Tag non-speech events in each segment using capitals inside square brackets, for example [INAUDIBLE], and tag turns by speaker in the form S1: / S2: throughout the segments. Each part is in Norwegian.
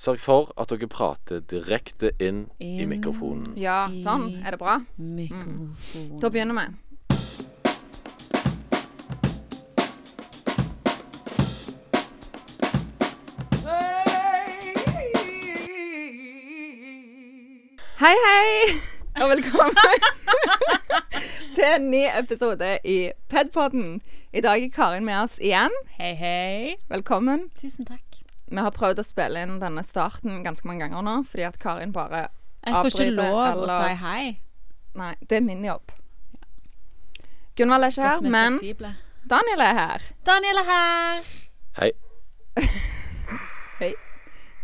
S1: Sørg for at dere prater direkte inn i
S2: Inn.
S1: mikrofonen.
S3: Ja, sånn. Er det bra?
S2: Mikrofon.
S3: Da begynner vi. Hei, hei, og velkommen [LAUGHS] til en ny episode i Pedpodden. I dag er Karin med oss igjen.
S2: Hei, hei.
S3: Velkommen.
S2: Tusen takk.
S3: Vi har prøvd å spille inn denne starten ganske mange ganger nå, fordi at Karin bare
S2: Jeg får ikke
S3: Avbryter
S2: lov å
S3: eller-
S2: si hei.
S3: Nei, det er min jobb. Gunvald er ikke her, men
S2: fleksible.
S3: Daniel er her.
S2: Daniel er her.
S1: Hei.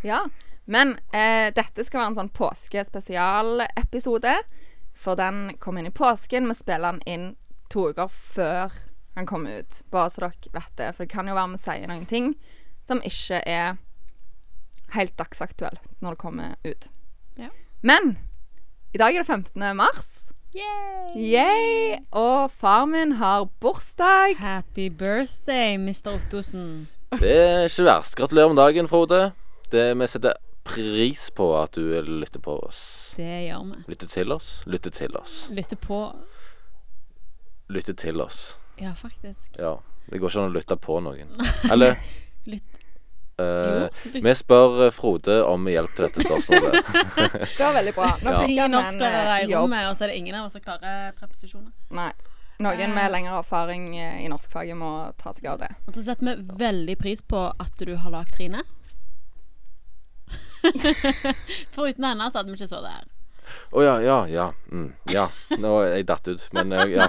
S3: Ja. Men eh, dette skal være en sånn påskespesialepisode. For den kom inn i påsken. Vi spiller den inn to uker før den kommer ut. Bare så dere vet det. For det kan jo være vi sier noen ting som ikke er helt dagsaktuelt når det kommer ut.
S2: Ja.
S3: Men i dag er det 15. mars.
S2: Yay.
S3: Yay! Og far min har bursdag.
S2: Happy birthday, Mr. Ottosen.
S1: Det er ikke verst. Gratulerer med dagen, Frode. Det Vi setter pris på at du lytter på oss.
S2: Det gjør vi.
S1: Lytter til oss, lytter til oss,
S2: Lytter på
S1: lytter til oss.
S2: Ja, faktisk.
S1: Ja. Det går ikke an å lytte på
S2: [LAUGHS]
S1: noen. Eller
S2: Lytt
S1: eh,
S2: Jo. Lytt
S1: Vi spør eh, Frode om hjelp til dette spørsmålet.
S3: Det var veldig bra. Nå
S1: Ja.
S2: Ti
S3: fikk han en
S2: norsklærere
S3: eh,
S2: i
S3: jobb.
S2: rommet, og så er det ingen av oss som klarer preposisjoner.
S3: Nei. Noen med lengre erfaring eh, i norskfaget må ta seg av det.
S2: Og så setter vi veldig pris på at du har lagd Trine. [LAUGHS] For uten henne så hadde vi ikke så det her.
S1: Å ja, ja, ja. Mm, ja. Nå er jeg datt ut, men eh, ja.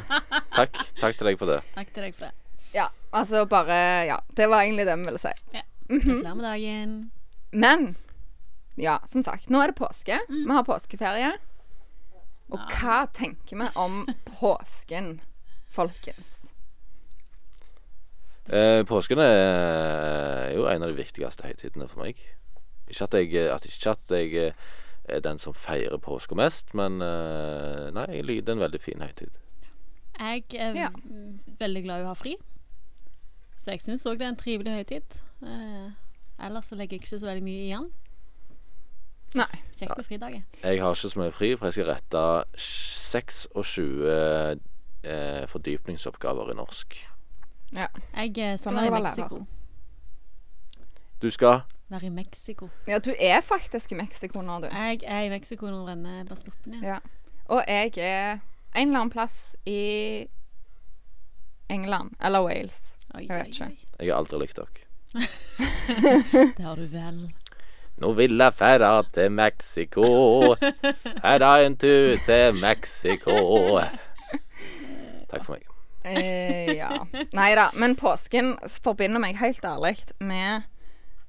S1: Takk. Takk til deg for det.
S2: Takk til deg for det.
S3: Ja, altså bare Ja. Det var egentlig det vi ville si.
S2: Gratulerer med dagen.
S3: Men ja, som sagt, nå er det påske. Vi har påskeferie. Og hva tenker vi om påsken, folkens?
S1: Eh, påsken er eh, jo en av de viktigste høytidene for meg. Ikke at jeg, eh, at, ikke at jeg er den som feirer påska mest, men eh, nei, jeg ly- det er en veldig fin høytid.
S2: Jeg er
S3: Ja.
S2: v- veldig glad i å ha fri, så jeg syns òg det er en trivelig høytid. Eh, ellers så legger jeg ikke så veldig mye igjen.
S3: Nei.
S2: Kjekt med fridager.
S1: Jeg har ikke så mye fri, for jeg skal rette 26 eh, fordypningsoppgaver i norsk.
S3: Ja.
S2: Jeg eh, skal
S3: Sånn
S2: være i
S3: er det å være lærer.
S2: Mexico.
S1: Du skal
S2: Være i Mexico.
S3: ja, du er faktisk i Mexico nå, du.
S2: Jeg er i Mexico når denne blir sluppet ned.
S3: Ja. Og jeg er en eller annen plass i England eller Wales.
S2: Oi,
S3: Jeg vet
S2: oi, oi.
S1: Jeg har aldri likt dere.
S2: Det har du vel.
S1: Nå vil jeg færa til Mexico. Færa en tur til Mexico. Takk for meg.
S3: Eh, ja. Nei da. Men påsken forbinder meg helt ærlig med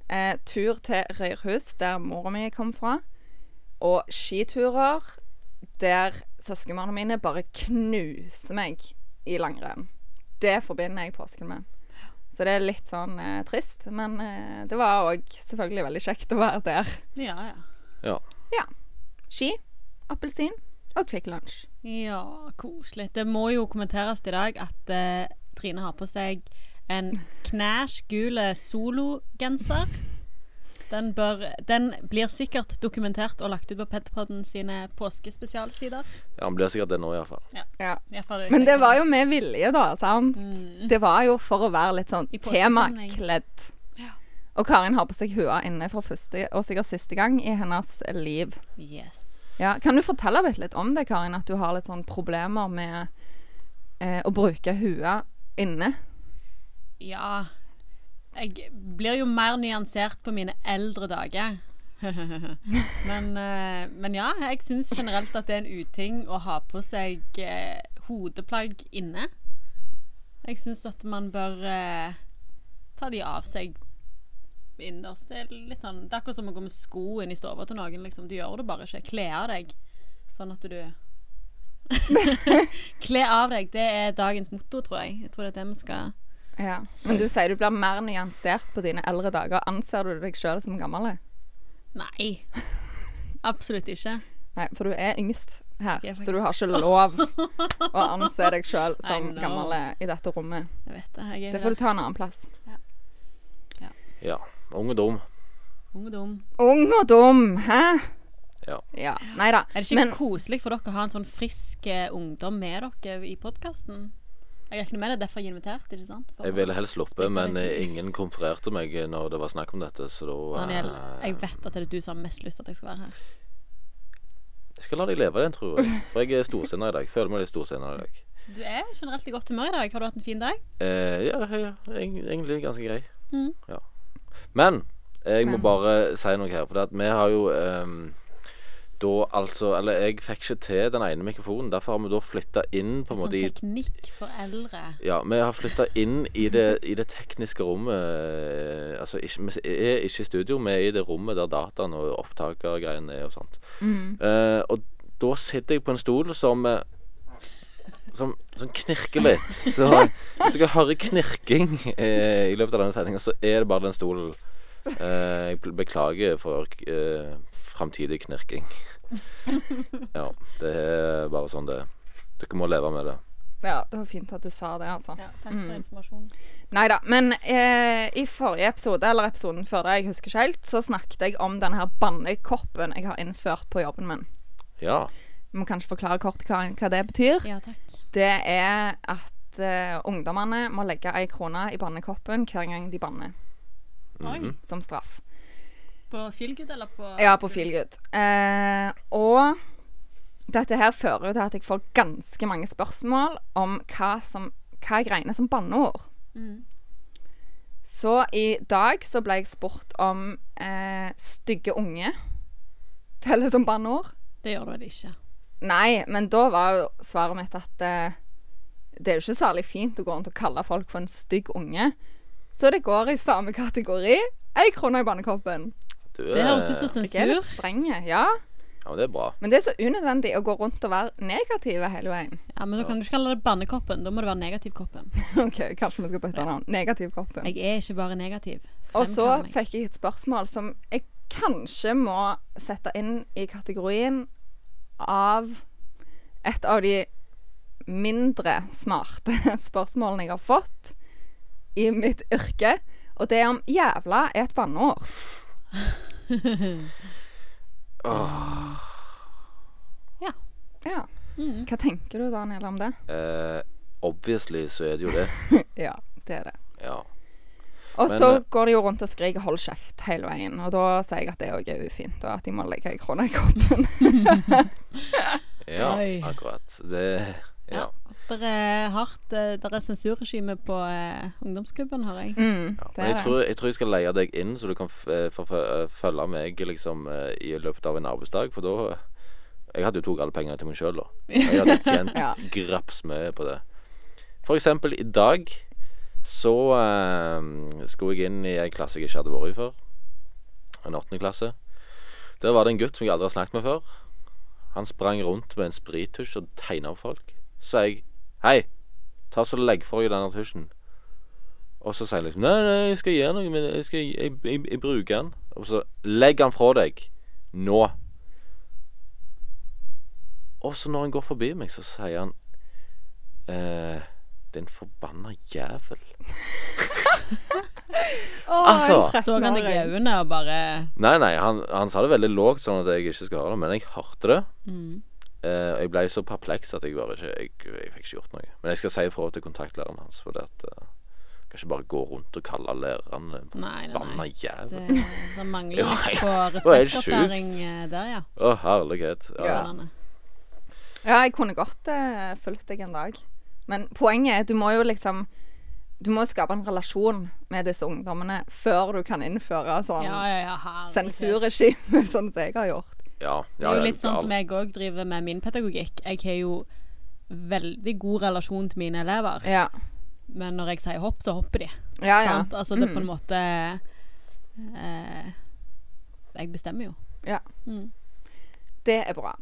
S3: eh, tur til Røyrhus, der mora mi kom fra, og skiturer der søskenbarna mine bare knuser meg i langrenn. Det forbinder jeg påsken med. Så det er litt sånn eh, trist, men eh, det var òg selvfølgelig veldig kjekt å være der.
S2: Ja, ja.
S1: Ja.
S3: Ski, appelsin og Kvikk Lunsj.
S2: Ja, koselig. Det må jo kommenteres i dag at eh, Trine har på seg en knæsj gul eh, sologenser. Den, bør, den blir sikkert dokumentert og lagt ut på Petpodden sine påskespesialsider.
S1: Ja, Han blir sikkert det nå, iallfall.
S3: Ja.
S2: I hvert fall er
S3: Men det
S2: jeg
S3: var
S2: som-
S3: jo med vilje, da. Sant? Det var jo for å være litt sånn
S2: Mm. I påskestemning.
S3: temakledd.
S2: Ja.
S3: Og Karin har på seg hua inne for første og sikkert siste gang i hennes liv.
S2: Yes.
S3: Ja, kan du fortelle litt- litt om det, Karin? At du har litt sånn problemer med eh, å bruke hua inne?
S2: Ja. Jeg blir jo mer nyansert på mine eldre dager. [LAUGHS] men, eh, men ja, jeg syns generelt at det er en uting å ha på seg eh, hodeplagg inne. Jeg syns at man bør eh, ta de av seg innendørs. Det er litt sånn Det er akkurat som å gå med sko inn i stua til noen. Liksom. Du gjør det bare ikke. Kle av deg, sånn at du [LAUGHS] Kle av deg. Det er dagens motto, tror jeg. Jeg tror det er det vi skal
S3: Ja. Men du sier du blir mer nyansert på dine eldre dager. Anser du deg sjøl som gammel?
S2: Nei. Absolutt ikke.
S3: Nei, for du er yngst her,
S2: Jeg er
S3: så du
S2: faktisk-
S3: har ikke lov å
S2: [LAUGHS]
S3: anse deg sjøl som
S2: know.
S3: gammel i dette rommet.
S2: Jeg vet det. Jeg
S3: Det
S2: er
S3: får du ta en annen plass.
S1: Ja. Ung og dum.
S2: Ung og dum.
S3: Ung og dum, hæ?
S1: Ja.
S3: ja. Nei da.
S2: Er det ikke koselig for dere å ha en sånn frisk eh, ungdom med dere i podkasten? Jeg regner med det er derfor jeg er invitert, ikke sant? For
S1: Jeg
S2: å
S1: ville helst sluppe,
S2: spytte
S1: men
S2: litt
S1: eh,
S2: ut.
S1: ingen konfererte meg eh, når det var snakk om dette, så da eh,
S2: Daniel, jeg vet at det er du som har mest lyst til at jeg skal være her.
S1: Jeg skal la deg leve den, tror jeg. For jeg er storsinna i dag. Føler meg litt storsinna i dag.
S2: Du er generelt i godt humør i dag. Har du hatt en fin dag?
S1: Eh, ja, ja, ja, eng- egentlig ganske grei.
S2: Mhm.
S1: Ja. Men jeg må bare si noe her, for det at vi har jo ehm, da altså Eller jeg fikk ikke til den ene mikrofonen, derfor har vi da flytta inn på en
S2: Sånn
S1: måte i
S2: teknikk for eldre.
S1: ja, vi har flytta inn i det, i det tekniske rommet. eh, Altså, ikke, vi er ikke i studio, vi er i det rommet der dataen og opptakergreiene er og sånt.
S2: mm.
S1: Eh, og da sitter jeg på en stol som eh, som, som knirker litt. Så hvis dere hører knirking eh, i løpet av denne sendinga, så er det bare den stolen. Eh, jeg beklager for eh, framtidig knirking. Ja, det er bare sånn det er. Dere må leve med det.
S3: Ja, det var fint at du sa det, altså.
S2: Ja, takk for informasjonen.
S3: Nei da. Men eh, i forrige episode, eller episoden før det, jeg husker ikke helt, så snakket jeg om denne her bannekoppen jeg har innført på jobben min.
S1: Ja.
S3: Vi må kanskje forklare kort hva, hva det betyr.
S2: Ja, takk.
S3: Det er at eh, ungdommene må legge ei krone i bannekoppen hver gang de banner,
S2: Oi.
S3: som straff.
S2: På Feelgood eller på
S3: Ja, på Feelgood. Eh, og dette her fører jo til at jeg får ganske mange spørsmål om hva, som, hva jeg regner som banneord.
S2: Mm.
S3: Så i dag så ble jeg spurt om eh, stygge unge teller som banneord.
S2: Det gjør du vel ikke.
S3: Nei, men da var jo svaret mitt at eh, det er jo ikke særlig fint å gå rundt og kalle folk for en stygg unge. Så det går i samme kategori. Ei krone i bannekoppen.
S1: Du,
S2: Det høres ut som
S3: Jeg er
S2: sensur.
S3: litt streng, ja.
S1: Ja, men det er bra.
S3: Men det er så unødvendig å gå rundt og være negative hele veien. [LAUGHS]
S2: Ja, Men da kan du ikke kalle det bannekoppen. Da må det være negativkoppen.
S3: OK, kanskje vi skal bytte navn. Negativkoppen.
S2: Jeg er ikke bare negativ.
S3: Og så
S2: Fremkall meg.
S3: fikk jeg et spørsmål som jeg kanskje må sette inn i kategorien av et av de mindre smarte [LAUGHS] spørsmålene jeg har fått i mitt yrke. Og det er om 'jævla' er et banneord.
S2: Ja.
S3: Ja.
S2: Mm.
S3: Hva tenker du, Daniel, om det?
S1: Eh, obviously så er det jo det.
S3: Ja, det er det.
S1: Ja.
S3: Og
S1: Men,
S3: så
S1: eh,
S3: går det jo rundt og skriker 'hold kjeft' hele veien. Og da sier jeg at det òg er ufint, og at jeg må legge ei krone i koppen.
S1: ja
S2: Oi.
S1: akkurat. Det Ja.
S2: Det er hardt eh, Det er sensurregime på eh, ungdomsklubben, hører jeg.
S3: [LAUGHS] Mm,
S1: Ja,
S3: det
S1: men
S3: er
S1: jeg
S3: det.
S1: tror, jeg tror jeg skal leie deg inn, så du kan f eh, få fø- eh, følge meg liksom, eh, i løpet av en arbeidsdag. For da eh, Jeg hadde jo tatt alle pengene til meg sjøl, da. Jeg hadde tjent
S3: [LAUGHS] Ja.
S1: grapsmye på det. For eksempel i dag så eh, skulle jeg inn i ei klasse jeg ikke hadde vært i før. En åttende klasse. Der var det en gutt som jeg aldri har snakket med før. Han sprang rundt med en sprittusj og tegna opp folk. Så sa jeg Hei, ta så legg for deg denne tusjen. Og så sier han liksom Nei, nei, jeg skal gjøre noe med det. Jeg, skal, jeg, jeg, jeg bruker den. Og så legg han fra deg. Nå. Og så når han går forbi meg, så sier han eh, Din forbanna jævel.
S3: Å,
S1: [LAUGHS] Altså.
S3: en
S2: Så kan deg i
S3: 13-åring.
S2: øynene og bare
S1: Nei, nei, han, han sa det veldig lågt, sånn at jeg ikke skal høre det, men jeg hørte det.
S2: mm.
S1: Eh, og jeg ble så perpleks at jeg bare ikke jeg, jeg fikk ikke gjort noe. Men jeg skal si ifra til kontaktlæreren hans, for det at eh, jeg kan ikke bare gå rundt og kalle læreren en
S2: Nei, nei,
S1: forbanna
S2: nei.
S1: jævel.
S2: Det, det
S1: [LAUGHS]
S2: mangler
S1: Jo,
S2: litt
S1: jeg-
S2: på
S1: var helt
S2: respektopplæring
S1: sjukt.
S2: eh, der, ja.
S1: Å, herlighet. Ja.
S3: Ja.
S2: Spennende.
S3: Ja, jeg kunne godt uh, fulgt deg en dag. Men poenget er at du må jo liksom Du må skape en relasjon med disse ungdommene før du kan innføre sånn
S2: Ja, ja, ja, herregud.
S3: sensurregime, [LAUGHS] sånn som jeg har gjort.
S1: Ja,
S2: Det
S1: ja,
S2: er
S1: ja,
S2: jo litt sånn
S1: gal.
S2: som jeg òg driver med min pedagogikk. Jeg har jo veldig god relasjon til mine elever,
S3: Ja.
S2: men når jeg sier hopp, så hopper de.
S3: Ah, Ja, Mm. ja.
S2: Sant? Altså det er på en måte eh, Jeg bestemmer jo. Mm.
S3: Det er bra.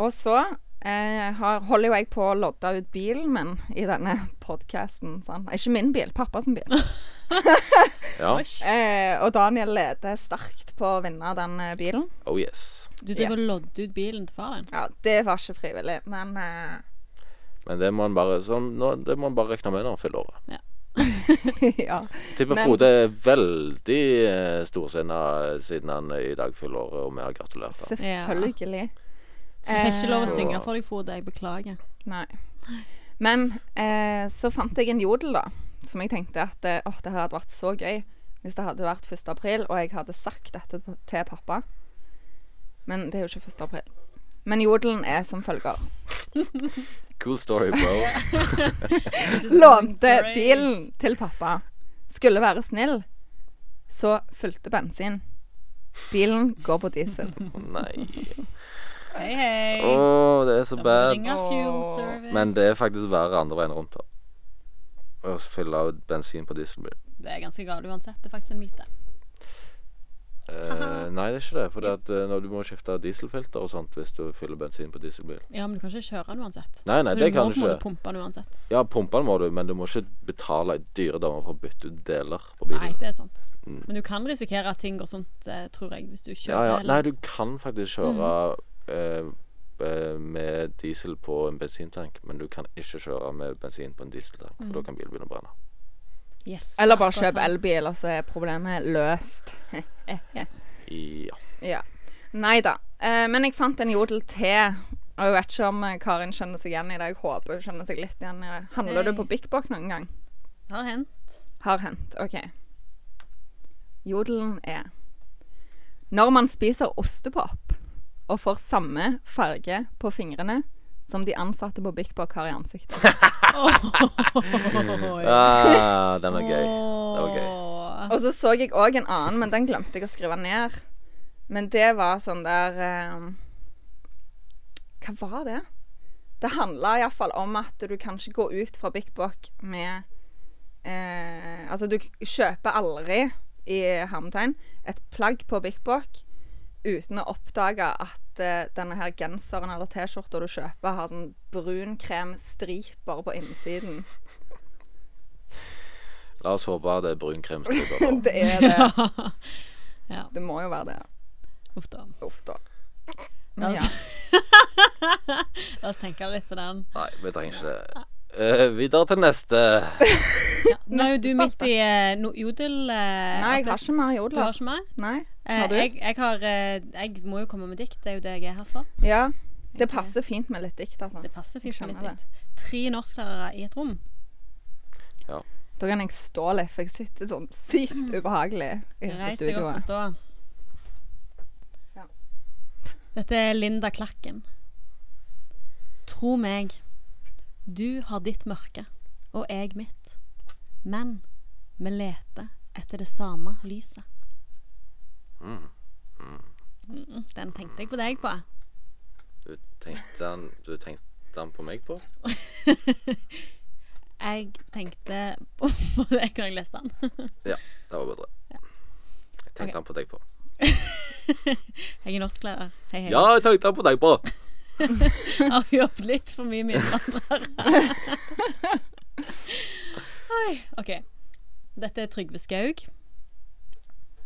S3: Og så eh, har, holder jo jeg på å lodde ut bilen min i denne podkasten. Ikke min bil, pappas bil.
S2: [LAUGHS]
S1: Ja.
S3: Eh, og Daniel leder sterkt på å vinne den eh, bilen.
S1: Oh yes.
S2: Du driver og
S3: Yes.
S2: lodder ut bilen til far din.
S3: Ja, det var ikke frivillig, men eh, [LAUGHS]
S1: Men det må en bare, sånn, nå, det må en bare regne med når en fyller året.
S2: Ja.
S3: ja.
S1: Tipper
S3: Men-
S1: Frode er veldig eh, storsinna siden han i dag fyller året, og vi har gratulert
S3: [LAUGHS]
S1: ham.
S3: Selvfølgelig.
S2: Jeg fikk ikke lov å
S1: Eh,
S2: synge for deg, Frode. Jeg beklager.
S3: Nei. Men eh, så fant jeg en jodel, da, som jeg tenkte at eh, åh, det her hadde vært så gøy hvis det hadde vært 1. april, og jeg hadde sagt dette p- til pappa. Men det er jo ikke 1. april. Men jodelen er som følger.
S1: Cool story, bro.
S2: Jeg synes det var
S3: Lånte
S2: great.
S3: bilen til pappa. Skulle være snill. Så fulgte bensin. Bilen går på diesel.
S1: [LAUGHS] [LAUGHS] Nei.
S2: Hei, hei.
S1: Å, det er så
S2: Da må du
S1: bad.
S2: ringe Fuel
S3: Åh.
S2: Service.
S1: Men det er faktisk verre andre veien rundt, da. Å fylle av bensin på dieselbil.
S2: Det er ganske galt uansett. Det er faktisk en myte.
S1: Eh, nei, det er ikke det. For at, eh, når du må skifte dieselfilter og sånt hvis du fyller bensin på dieselbil
S2: Ja, men du kan ikke kjøre den uansett.
S1: Nei, nei,
S2: så
S1: det
S2: du
S1: kan
S2: må
S1: du
S2: på en måte
S1: ikke.
S2: pumpe den uansett.
S1: Ja, pumpe den må du, men du må ikke betale dyre damer for å bytte ut deler på
S2: Nei,
S1: bilen. Mm.
S2: det er sant. Men du kan risikere at ting går sånt, eh, tror jeg, hvis du
S1: Ja,
S2: kjører
S1: ja.
S2: eller-
S1: Nei, du kan faktisk kjøre eh, eh, med diesel på en bensintank, men du kan ikke kjøre med bensin på en dieseltank, for da kan bilen begynne å brenne.
S2: Yes,
S3: Eller bare
S2: akkurat
S3: kjøp
S2: sånn.
S3: elbil, og så er problemet løst.
S1: Ja.
S3: Ja. Nei da. Eh, men jeg fant en jodel til. Og jeg vet ikke om eh, Karin kjenner seg igjen i det. Jeg håper hun kjenner seg litt igjen i det. Handler du
S2: Hei.
S3: på Big Bok noen gang?
S2: Det har
S1: [LAUGHS]
S2: hendt.
S3: Har hendt. OK. Jodelen er Når man spiser ostepop og får samme farge på fingrene som de ansatte på Big Bok har i ansiktet.
S1: Ah, den var gøy. Det var gøy.
S2: Åh.
S3: Og så så jeg òg en annen, men den glemte jeg å skrive ned. Men det var sånn der eh, Hva var det? Det handla iallfall om at du kan ikke gå ut fra Big Bock med eh, Altså, du k- kjøper aldri, i hermetegn, et plagg på Big Bock uten å oppdage at eh, denne her genseren eller T-skjorta du kjøper, har sånn brunkremstriper på innsiden. [LAUGHS]
S1: La oss håpe det er brun kremstripe. da.
S3: Det er det.
S2: [LAUGHS] Ja.
S3: Det må jo være det.
S2: Uff da.
S3: Uff, da.
S2: La
S3: Men ja.
S2: oss, [LAUGHS] La oss tenke litt på den.
S1: Nei, vi trenger ikke det. Eh, videre til neste.
S2: Nå er jo
S3: Neste
S2: du midt
S3: spalte.
S2: i eh, no jodel... eh,
S3: Nei, jeg har ikke
S2: Du
S3: mer
S2: har
S3: jodler.
S2: ikke mer?
S3: Nei.
S2: Eh,
S3: Har du?
S2: Jeg, jeg har eh, Jeg må jo komme med dikt. Det er jo det jeg er her for.
S3: Ja. Det
S2: Jeg-
S3: passer fint med litt dikt, altså.
S2: Det passer fint
S3: Jeg
S2: med
S3: skjønner
S2: litt dikt. Tre norsklærere i et rom.
S3: Da kan jeg stå litt, for jeg sitter sånn sykt ubehagelig i dette
S2: Mm. Reis deg opp og
S3: studioet.
S2: stå.
S3: Ja.
S2: Dette er Linda Klakken. Tro meg, du har ditt mørke, og jeg mitt. Men vi leter etter det samme lyset. Mm, Den tenkte jeg på deg på.
S1: Du tenkte han, du tenkte han på meg på?
S2: Jeg tenkte [LAUGHS] på deg da jeg leste den.
S1: Det var bedre. Jeg tenkte
S2: Ok.
S1: han på deg på.
S2: Jeg er norsklærer. Hei, hei.
S1: Ja, jeg tenkte han på deg på!
S2: Jeg [LAUGHS] har jobbet litt for mye med innvandrere. Oi, OK. Dette er Trygve Skaug.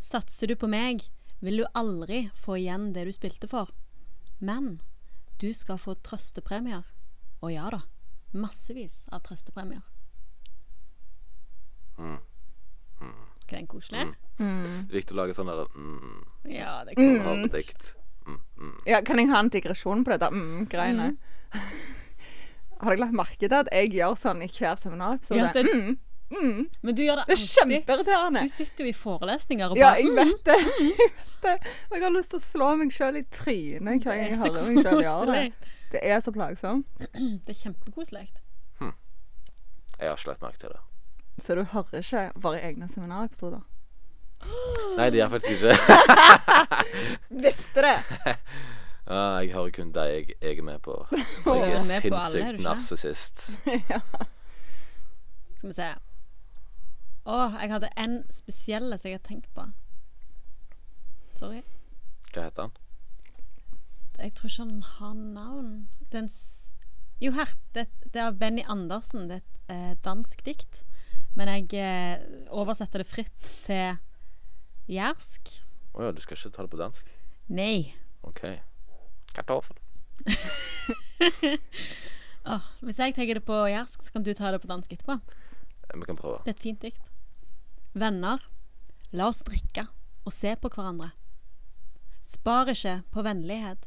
S2: Satser du på meg, vil du aldri få igjen det du spilte for. Men du skal få trøstepremier. Og ja da, massevis av trøstepremier. Er ikke den koselig?
S3: Mm.
S1: Viktig å lage sånn derre mm,
S2: Ja, det
S1: når
S2: er koselig.
S1: du har på dikt. Mm, mm.
S3: Ja, kan jeg ha en digresjon på dette mm-greiene?
S2: Mm.
S3: [LAUGHS] Har dere lagt merke til at jeg gjør sånn i hver seminarepisode?
S2: Ja, det-
S3: mm, mm.
S2: Men du gjør
S3: det
S2: det
S3: er
S2: alltid.
S3: kjempeirriterende.
S2: Du sitter jo i forelesninger og
S3: Ja,
S2: bare mm,
S3: jeg vet det. [LAUGHS] Jeg vet det. Og jeg har lyst til å slå meg sjøl i trynet hver gang jeg hører meg sjøl gjøre det. Det er så plagsomt.
S2: Det er kjempekoselig.
S1: Jeg har ikke lagt merke til det.
S3: Så du hører ikke våre egne seminarepisoder?
S1: Nei, det gjør jeg faktisk ikke.
S3: Visste det! [LAUGHS]
S1: Ah, jeg hører kun deg jeg, jeg er med på.
S2: [LAUGHS]
S1: For
S2: Du
S1: jeg
S2: er
S1: er
S2: med på alle, er du
S1: sinnssykt
S2: ikke?
S1: narsissist.
S2: Skal vi se. Å, jeg hadde en spesiell som jeg har tenkt på. Sorry.
S1: Hva heter han?
S2: Jeg tror ikke han har navn. Den s jo, her. Det, det er av Benny Andersen. Det er et eh, dansk dikt. Men jeg eh, oversetter det fritt til jærsk.
S1: Å ja, du skal ikke ta det på dansk?
S2: Nei.
S1: OK. Kartoffel.
S2: Åh, hvis jeg tenker det på jærsk, så kan du ta det på dansk etterpå.
S1: Vi kan prøve.
S2: Det er et fint dikt. Venner, la oss drikke og se på hverandre. Spar ikke på vennlighet.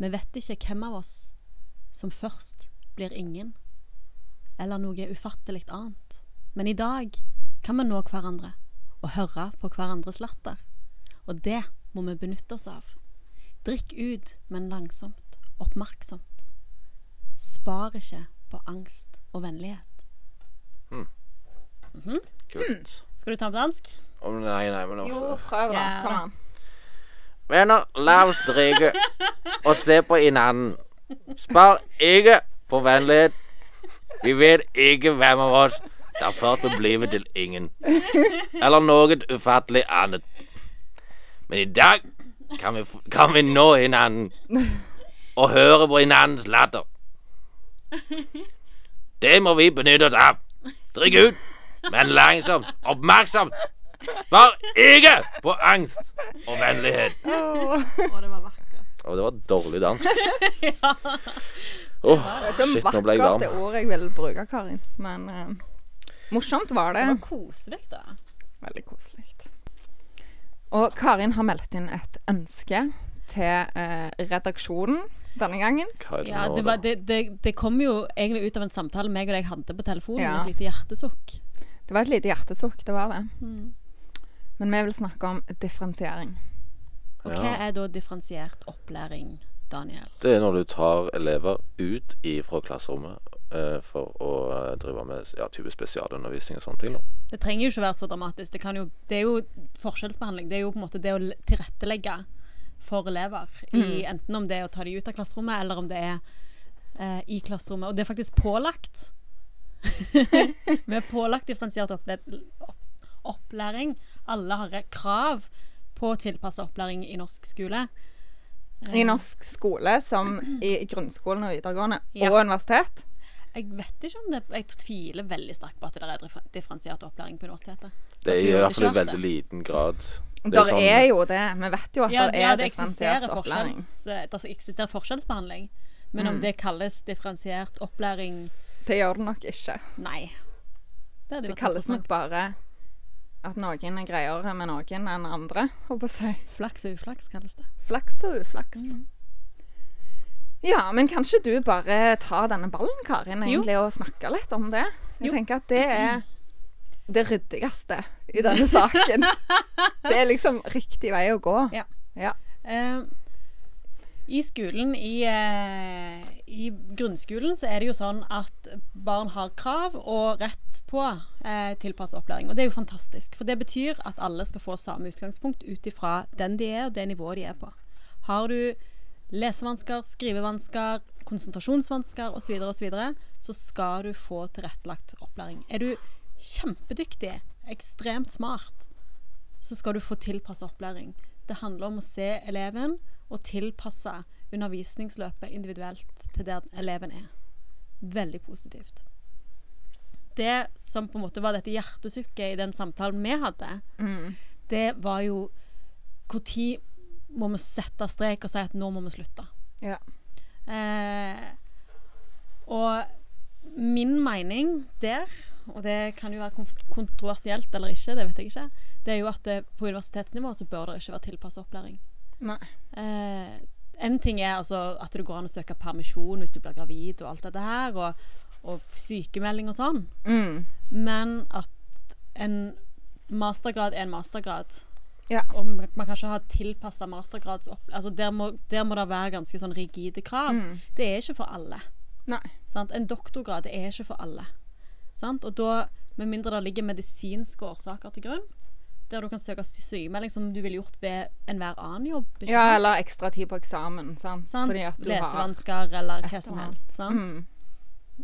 S2: Vi vet ikke hvem av oss som først blir ingen, eller noe ufattelig annet. Men i dag kan vi nå hverandre og høre på hverandres latter. Og det må vi benytte oss av. Drikk ut, men langsomt, oppmerksomt. Spar ikke på angst og vennlighet. Hmm.
S1: Kult.
S2: Skal du ta på dansk?
S1: Å nei, nei, men altså.
S3: Jo,
S1: også
S3: prøv, da.
S2: Ja,
S3: Kom
S2: da.
S3: an.
S1: Venner, la oss drikke og se på hverandre. Spar ikke på vennlighet. Vi vet ikke hvem av oss der først vil blive til ingen. Eller noe ufattelig annet. Men i dag kan vi, f- kan vi nå hverandre og høre på hverandres latter. Det må vi benytte oss av. Drikk ut, men langsomt, oppmerksomt. Spar ikke på angst og vennlighet.
S2: Å, det var vakkert.
S1: Og det var dårlig
S3: [LAUGHS]
S1: dans.
S2: Ja.
S1: Åh,
S3: Det er
S1: shit,
S3: ikke
S1: nå ble jeg
S3: vakkert
S1: varm.
S3: det ordet jeg ville bruke, Karin, men eh, morsomt var det.
S2: Det var koselig, da.
S3: Veldig koselig. Og Karin har meldt inn et ønske til eh, redaksjonen denne gangen.
S1: Hva er det
S2: Ja,
S1: nå, da?
S2: det, var, det, det, det kom jo egentlig ut av en samtale meg og deg hadde på telefonen.
S3: Ja.
S2: Et lite hjertesukk.
S3: Det var et lite hjertesukk, det var det.
S2: Mm.
S3: Men vi vil snakke om differensiering.
S2: Og
S1: Ja.
S2: hva er da differensiert opplæring, Daniel?
S1: Det er når du tar elever ut ifra klasserommet eh, for å eh, drive med ja, type spesialundervisning og sånne ting. Da.
S2: Det trenger jo ikke være så dramatisk. Det, kan jo, det er jo forskjellsbehandling. Det er jo på en måte det å l- tilrettelegge for elever. I, enten om det er å ta dem ut av klasserommet, eller om det er eh, i klasserommet. Og det er faktisk pålagt. [LAUGHS] Vi er pålagt differensiert opple opp opplæring. Alle har re- krav på tilpassa opplæring i norsk skole.
S3: I norsk skole, som i grunnskolen og videregående,
S2: Ja.
S3: og universitet.
S2: Eh, Jeg vet ikke om det Jeg tviler veldig sterkt på at det der er differ- differensiert opplæring på universitetet.
S1: Det er
S2: At du
S1: i
S2: gjør
S1: hvert fall i
S2: ikke alt det.
S1: veldig liten grad. Det
S3: Der
S1: sånn-
S3: er jo det. Vi vet jo at
S2: Ja, det,
S3: det
S2: ja,
S3: er
S2: det eksisterer,
S3: differensiert opplæring. Mm.
S2: forskjells, eh, det eksisterer forskjellsbehandling. Men om det kalles differensiert opplæring
S3: Det gjør det nok ikke.
S2: Nei. Det, hadde
S3: Det
S2: vært
S3: kalles nok
S2: interessant.
S3: bare at noen er greiere med noen enn andre, håper jeg. å si.
S2: Flaks og uflaks kalles det.
S3: Flaks og uflaks. Ja, men kan ikke du bare ta denne ballen, Karin,
S2: Mm. Jo.
S3: egentlig, og snakke litt om det? Jeg
S2: Jo.
S3: tenker at det er det ryddigste i denne
S2: [LAUGHS]
S3: saken. det er liksom riktig vei å gå.
S2: Ja.
S3: Ja.
S2: Eh, I skolen, i, eh, i grunnskolen, så er det jo sånn at barn har krav og rett på eh, tilpasset opplæring. Og det er jo fantastisk. For det betyr at alle skal få samme utgangspunkt ut ifra den de er, og det nivået de er på. Har du lesevansker, skrivevansker, konsentrasjonsvansker osv., så, videre, så skal du få tilrettelagt opplæring. Er du kjempedyktig, ekstremt smart, så skal du få tilpassa opplæring. Det handler om å se eleven og tilpasse undervisningsløpet individuelt til der eleven er. Veldig positivt. Det som på en måte var dette hjertesukket i den samtalen vi hadde,
S3: Mm.
S2: det var jo Når må vi sette strek og si at nå må vi slutte?
S3: Ja.
S2: Eh, og min mening der, og det kan jo være konf- kontroversielt eller ikke, det vet jeg ikke, det er jo at det, på universitetsnivå så bør det ikke være tilpassa opplæring.
S3: Nei.
S2: Eh, en ting er altså at det går an å søke permisjon hvis du blir gravid og alt dette her, og, og sykemelding og sånn,
S3: Mm.
S2: men at en mastergrad er en mastergrad.
S3: Ja.
S2: Og man man kan ikke ha tilpassa mastergrads opp... Altså der må, der må det være ganske sånn rigide krav.
S3: Mm.
S2: Det er ikke for alle.
S3: Nei.
S2: Sant? En doktorgrad er ikke for alle. Sant? Og da, med mindre det ligger medisinske årsaker til grunn, der du kan søke sy- sykemelding som du ville gjort ved enhver annen jobb. ikke
S3: Ja,
S2: sant?
S3: eller ekstra tid på eksamen, sant?
S2: sant?
S3: Fordi at du har
S2: Lesevansker eller
S3: et
S2: hva som
S3: eller
S2: helst. Sant?
S3: mm.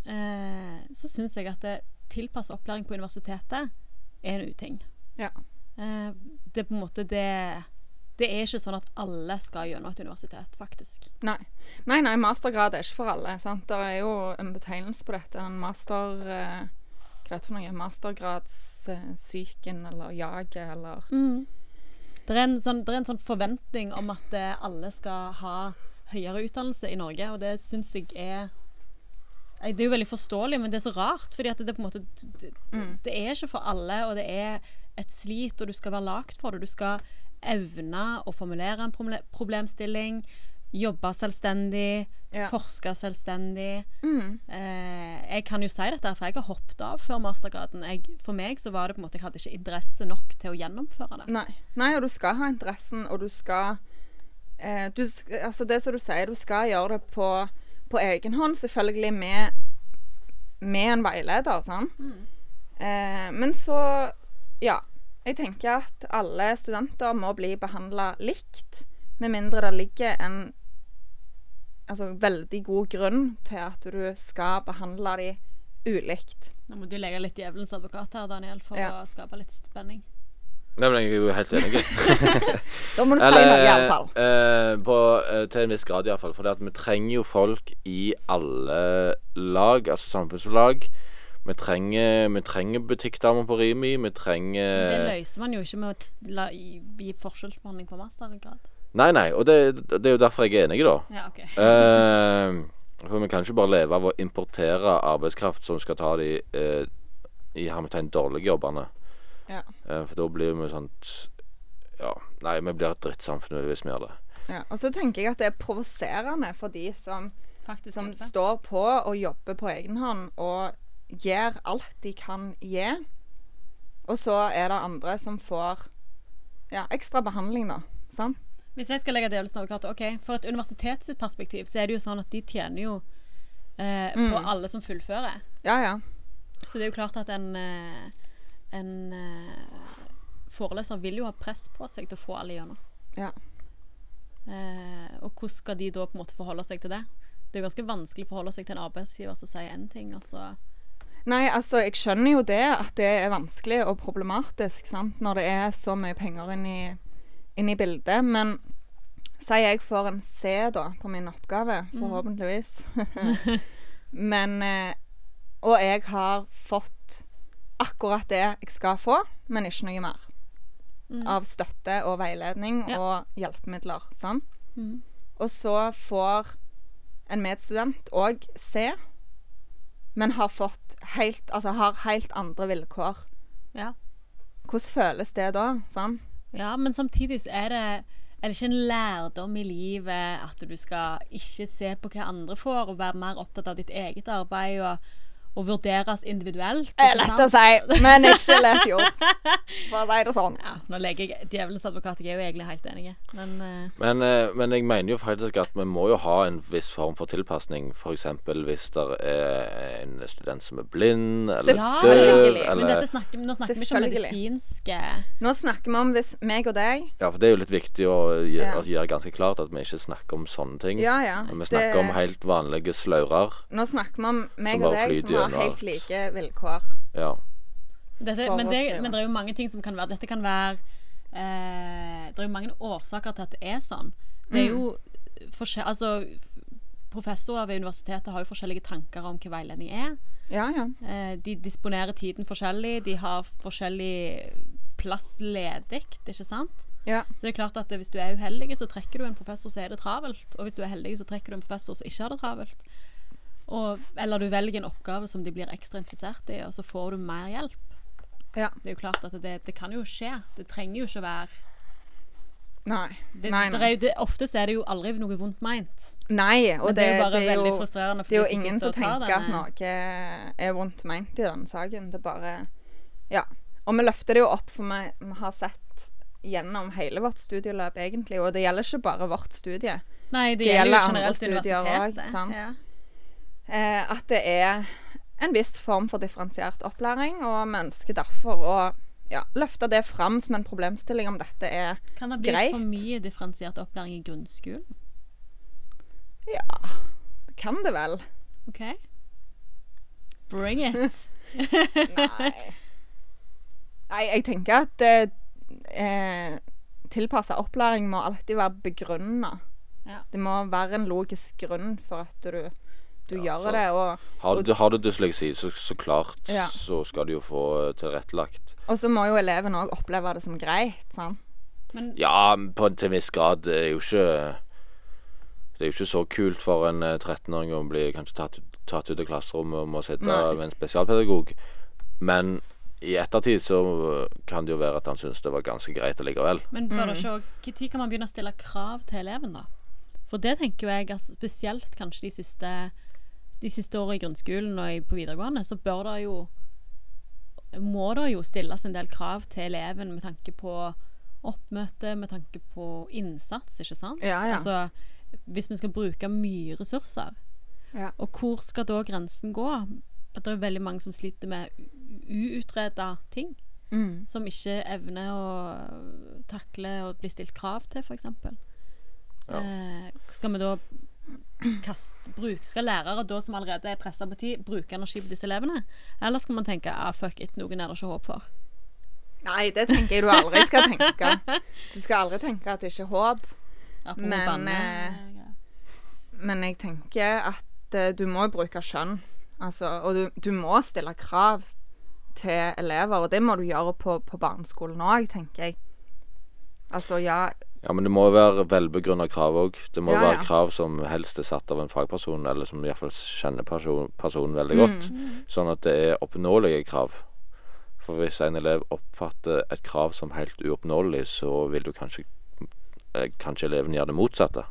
S2: Eh, så syns jeg at det- tilpasset opplæring på universitetet er en uting.
S3: Ja.
S2: Eh, det er på en måte det Det er ikke sånn at alle skal gjennom et universitet, faktisk.
S3: Nei. nei, nei, mastergrad er ikke for alle. sant? Det er jo en betegnelse på dette. En master... Eh, hva er det for noe? Mastergradssyken eh, eller jaget eller
S2: Det er, en sånn, det er en sånn forventning om at eh, alle skal ha høyere utdannelse i Norge, og det syns jeg er Nei, Det er jo veldig forståelig, men det er så rart. Fordi at det, er på en måte, det, det- det er ikke for alle, og det er et slit, og du skal være lagd for det. Du skal evne å formulere en promle- problemstilling, jobbe selvstendig,
S3: Ja.
S2: forske selvstendig.
S3: Mm.
S2: Eh, jeg kan jo si dette, her, for jeg har hoppet av før mastergraden. Jeg, for meg så var det på en måte, jeg hadde ikke interesse nok til å gjennomføre det.
S3: Nei. Nei, og du skal ha interessen, og du skal eh, du, sk- Altså, det som du sier, du skal gjøre det på, på egen hånd, selvfølgelig med, med en veileder, sant? Eh, men så Ja. Jeg tenker at alle studenter må bli behandla likt, med mindre det ligger en altså, veldig god grunn til at du skal behandle de ulikt.
S2: Nå må du legge litt djevelens advokat her, Daniel, for
S3: Ja.
S2: å skape litt spenning.
S1: Nei, men jeg er jo helt enig.
S3: [LAUGHS] Da må du si noe, iallfall.
S1: eh, på, eh, til en viss grad, iallfall. For vi trenger jo folk i alle lag, altså samfunnslag. Vi trenger, vi trenger butikkdamer på Rimi. Vi
S2: Det
S1: trenger
S2: løser man jo ikke med å t- la, gi, gi forskjellsbehandling på mastergrad.
S1: Nei, nei. Og det, det er jo derfor jeg er enig, da.
S2: Ja, ok.
S1: Eh, for vi kan ikke bare leve av å importere arbeidskraft som skal ta de eh, i hermetegn dårlige jobbene.
S3: Ja.
S1: Eh, for da blir vi sånt Ja, nei, vi blir et drittsamfunn hvis vi gjør det.
S3: Ja. Og så tenker jeg at det er provoserende for de som
S2: Faktisk.
S3: som
S2: Jeppe.
S3: står på og jobber på egen hånd og gjør alt de kan gi. Og så er det andre som får ja, ekstra behandling, da. Sant?
S2: Hvis jeg skal legge djevelens advokat OK, for et universitet sitt perspektiv, så er det jo sånn at de tjener jo eh, på alle som fullfører.
S3: Ja, ja.
S2: Så det er jo klart at en, eh, en eh, foreleser vil jo ha press på seg til å få alle gjennom.
S3: Ja.
S2: Eh, og hvordan skal de da på en måte forholde seg til det? Det er jo ganske vanskelig å forholde seg til en arbeidsgiver som sier én ting, og så
S3: Nei, altså, jeg skjønner jo det, at det er vanskelig og problematisk, sant, når det er så mye penger inn i, inn i bildet, men si jeg får en C, da, på min oppgave, forhåpentligvis. men eh, Og jeg har fått akkurat det jeg skal få, men ikke noe mer. Av støtte og veiledning
S2: Ja.
S3: og hjelpemidler, sant.
S2: Mhm.
S3: Og så får en medstudent òg C men har fått helt, altså har helt andre vilkår.
S2: Ja.
S3: Hvordan føles det da? Sant?
S2: Ja, men samtidig så er det er det ikke en lærdom i livet at du skal ikke se på hva andre får, og være mer opptatt av ditt eget arbeid og, og vurderes individuelt? ikke
S3: Det er lett å
S2: sant?
S3: si, men ikke lett gjort. [LAUGHS] For å si det sånn.
S2: Ja, nå leker jeg djevelens advokat, jeg er jo egentlig helt enig, men eh,
S1: Men, eh, men jeg mener jo faktisk at vi må jo ha en viss form for tilpasning. F.eks. hvis det er en student som er blind, eller
S3: Ja,
S1: døv,
S3: selvfølgelig.
S2: men
S1: eller
S2: dette snakker, nå snakker vi ikke om
S3: Selvfølgelig.
S2: medisinske
S3: Nå snakker vi om hvis meg og deg
S1: Ja, for det er jo litt viktig å gjøre,
S3: Ja.
S1: altså, gjøre ganske klart at vi ikke snakker om sånne ting.
S3: Ja, ja.
S1: Men Vi
S3: det-
S1: snakker om helt vanlige slaurer.
S3: Nå snakker vi om meg
S1: Som
S3: og
S1: bare
S3: deg
S1: flyter
S3: som har
S1: gjennom alt.
S3: helt like vilkår.
S1: Ja.
S2: dette,
S3: For
S2: men,
S3: å
S2: det,
S3: skrive.
S2: men det er jo mange ting som kan være Dette kan være eh, Det er jo mange årsaker til at det er sånn. Det
S3: Mm.
S2: er jo forskjell... Altså, professorer ved universitetet har jo forskjellige tanker om hva veiledning er.
S3: Ja, ja.
S2: Eh, de disponerer tiden forskjellig, de har forskjellig plass ledig, ikke sant?
S3: ja.
S2: Så det er klart at hvis du er uheldig, så trekker du en professor som er det travelt. Og hvis du er heldig, så trekker du en professor som ikke har det travelt. Og, eller du velger en oppgave som de blir ekstra interessert i, og så får du mer hjelp.
S3: Ja.
S2: Det er jo klart at det, det kan jo skje. Det trenger jo ikke å være
S3: Nei.
S2: det,
S3: nei,
S2: Det
S3: nei.
S2: er jo, det, Ofte så er det jo aldri noe vondt meint.
S3: nei. Og
S2: Men
S3: det, det er jo
S2: bare veldig
S3: jo,
S2: frustrerende for
S3: det er
S2: de
S3: jo
S2: som
S3: ingen
S2: sitter
S3: som
S2: og tar
S3: tenker at
S2: denne-
S3: noe er vondt meint i denne saken. Det er bare Ja. Og vi løfter det jo opp, for vi, vi har sett gjennom hele vårt studieløp, egentlig. Og det gjelder ikke bare vårt studie.
S2: Nei, det,
S3: Det
S2: gjelder jo
S3: gjelder andre
S2: generelt
S3: studier også,
S2: universitetet.
S3: sant?
S2: Ja.
S3: Eh, at det er en viss form for differensiert opplæring, og vi ønsker derfor å ja, løfte det fram som en problemstilling om dette er
S2: Kan det bli
S3: Greit.
S2: for mye differensiert opplæring i grunnskolen?
S3: Kan det vel?
S2: OK? Bring
S3: [LAUGHS]
S2: it!
S3: Nei. Nei, jeg tenker at eh, eh, tilpassa opplæring må alltid være begrunna.
S2: Ja.
S3: Det må være en logisk grunn for at du, du
S1: Ja,
S3: gjør
S1: så-
S3: det. Og,
S1: Har du, har du dysleksi, så, så klart
S3: Ja.
S1: så skal du jo få eh, tilrettelagt.
S3: og så må jo eleven òg oppleve det som greit. Sant?
S2: Men
S1: Ja, på, til en viss grad. Det er jo ikke Det er jo ikke så kult for en eh, 13-åring å bli kanskje tatt ut tatt ut av klasserommet og må sitte
S3: Nei.
S1: med en spesialpedagog. Men i ettertid så eh, kan det jo være at han syntes det var ganske greit allikevel.
S2: Men
S3: Mm.
S2: bør det ikke også, når kan man begynne å stille krav til eleven, da? For det tenker jo jeg, altså, spesielt kanskje de siste, de siste årene i grunnskolen og i- på videregående, så bør det jo Må det jo stilles en del krav til eleven med tanke på oppmøte, med tanke på innsats, ikke sant?
S3: Ja, ja.
S2: Altså, hvis vi skal bruke mye ressurser,
S3: Ja.
S2: og hvor skal da grensen gå? At det er veldig mange som sliter med uutreda ting
S3: Mm.
S2: som ikke evner å takle og bli stilt krav til, f.eks.
S1: Ja.
S2: Eh, skal vi da kaste, bruk, skal lærere da som allerede er pressa på tid, bruke energi på disse elevene? Eller skal man tenke ah, fuck it, noen er det ikke håp for?
S3: Nei, det tenker jeg du aldri skal [LAUGHS] tenke. Du skal aldri tenke at det ikke er håp.
S2: Apropos
S3: Men,
S2: banne.
S3: Men jeg tenker at eh, du må bruke skjønn. Altså, og du, du må stille krav til elever, og det må du gjøre på, på barneskolen òg, tenker jeg. Altså, ja
S1: Ja, men det må være velbegrunna krav òg. Det må
S3: Ja, ja.
S1: være krav som helst er satt av en fagperson, eller som iallfall kjenner person, personen veldig
S3: Mm.
S1: godt. Sånn at det er oppnåelige krav. For hvis en elev oppfatter et krav som helt uoppnåelig, så vil du kanskje eh, Kanskje eleven gjør det motsatte.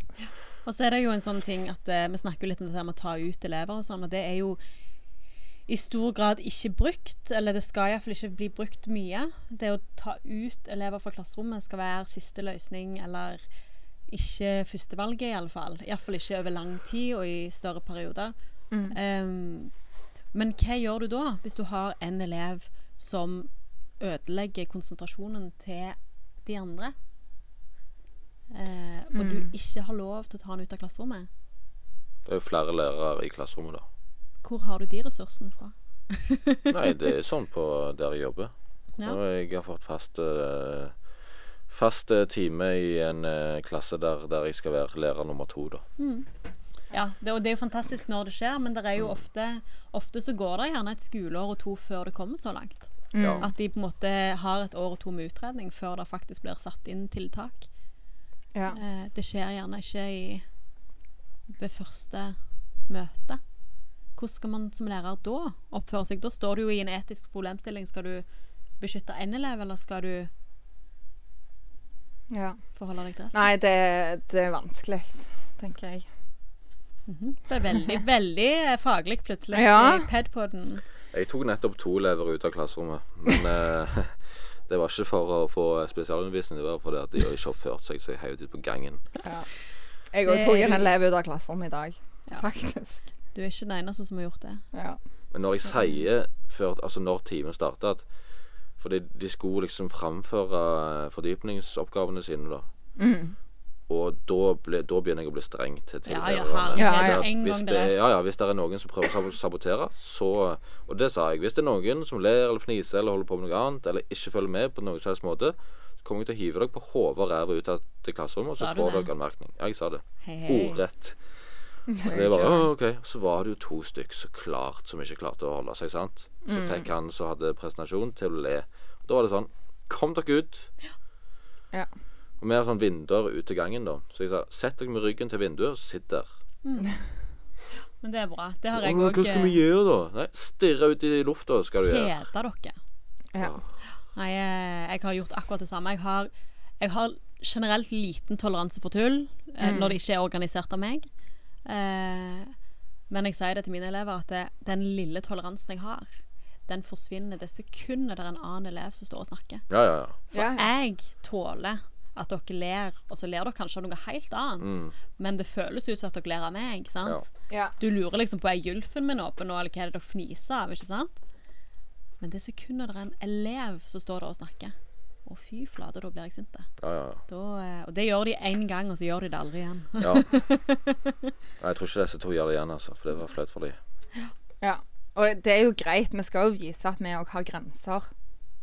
S2: Og så er det jo en sånn ting at eh, vi snakker jo litt om dette med å ta ut elever og sånn, og det er jo i stor grad ikke brukt, eller det skal iallfall ikke bli brukt mye. Det å ta ut elever fra klasserommet skal være siste løsning, eller ikke førstevalget, iallfall. Iallfall ikke over lang tid og i større perioder. Ehm, men hva gjør du da, hvis du har en elev som ødelegger konsentrasjonen til de andre? Eh, og du ikke har lov til å ta han ut av klasserommet?
S1: Det er jo flere lærere i
S3: [LAUGHS]
S1: klasserommet, da.
S2: Hvor har du de ressursene fra?
S1: Nei, det er sånn på der jeg jobber.
S2: Ja.
S1: Når jeg har fått fast, eh, fast eh, time i en eh, klasse der, der jeg skal være lærer nummer to, da.
S2: Ja, det, og det er jo fantastisk når det skjer, men det er
S3: Mm.
S2: jo ofte Ofte så går det gjerne et skoleår og to før det kommer så langt.
S3: Mm.
S1: Ja.
S2: At de på en måte har et år og to med utredning før det faktisk blir satt inn tiltak.
S3: Ja.
S2: Eh, det skjer gjerne ikke i, ved første møte. Hvordan skal man som lærer da oppføre seg? Da står du jo i en etisk problemstilling. Skal du beskytte én elev, eller skal du
S3: ja.
S2: forholde deg til resten?
S3: Nei, det, det er vanskelig, tenker jeg.
S2: Det ble veldig, veldig eh, faglig plutselig
S3: Ja.
S2: i E Pedpoden.
S1: Jeg tok nettopp to elever ut av klasserommet. Men eh, [LAUGHS] det var ikke for å få spesialundervisning, det var fordi at de ikke oppførte seg, så jeg heiv dem ut på gangen.
S2: Det
S3: Jeg òg tok
S2: er
S3: en
S2: du-
S3: elev ut av klasserommet i dag,
S2: Ja.
S3: faktisk.
S2: Du er ikke den eneste som har gjort det.
S3: Ja.
S1: Men når jeg sier før, altså når timen starta at Fordi de skulle liksom framføre fordypningsoppgavene sine, da.
S3: Mm.
S1: Og da, ble, da begynner jeg å bli streng til
S2: Ja, ja,
S1: tilhørerne.
S2: herregud.
S3: Ja, ja.
S2: En
S1: Hvis
S2: gang
S1: det,
S2: dere-
S1: ja, ja, hvis det er noen som prøver å sab- sabotere, så Og det sa jeg. Hvis det er noen som ler eller fniser eller holder på med noe annet, eller ikke følger med på noen som helst måte, så kommer jeg til å hive dere på hodet og ræva ut av til klasserommet, og
S2: Sa
S1: så
S2: du
S1: får
S2: det?
S1: dere anmerkning. Ja, jeg sa det.
S2: Hei, hei.
S1: Ordrett. Så det var, «Å, ok. Så var det jo to stykk så klart som ikke klarte å holde seg, sant. Så
S3: Mm.
S1: fikk han som hadde presentasjon, til å le. Da var det sånn Kom dere ut.
S3: Ja.
S1: Og vi har sånn vinduer ut til gangen, da. Så jeg sa sett dere med ryggen til vinduet, og sitt der.
S2: Men det er bra. Det har
S1: Å,
S2: jeg
S1: men
S2: òg
S1: Hva skal vi gjøre, da? Nei, Stirre ut i lufta skal du gjøre.
S2: kjeda eh, dere.
S3: Ja.
S2: Nei, eh, jeg har gjort akkurat det samme. Jeg har, jeg har generelt liten toleranse for tull eh,
S3: Mm.
S2: når det ikke er organisert av meg. Eh, men jeg sier det til mine elever at det, den lille toleransen jeg har, den forsvinner det sekundet det er en annen elev som står og snakker.
S1: Ja, ja, ja.
S3: Ja, ja.
S2: Jeg tåler at dere ler, og så ler dere kanskje av noe helt annet, men det føles ut som at dere ler av meg. sant?
S1: Mm. Ja.
S3: Ja.
S2: Du lurer liksom på er gylfen min åpen nå, eller hva er det dere fniser av, ikke sant? Men det sekundet det er en elev som står der og snakker, å fy flate, da blir jeg sint. da.
S1: ja, ja, ja.
S2: Da, eh, og det gjør de én gang, og så gjør de det aldri igjen.
S1: Ja. Nei, jeg tror ikke disse to gjør det igjen, altså. For det var flaut for dem.
S3: ja. Og det, det er jo greit, vi skal jo vise at vi òg har grenser.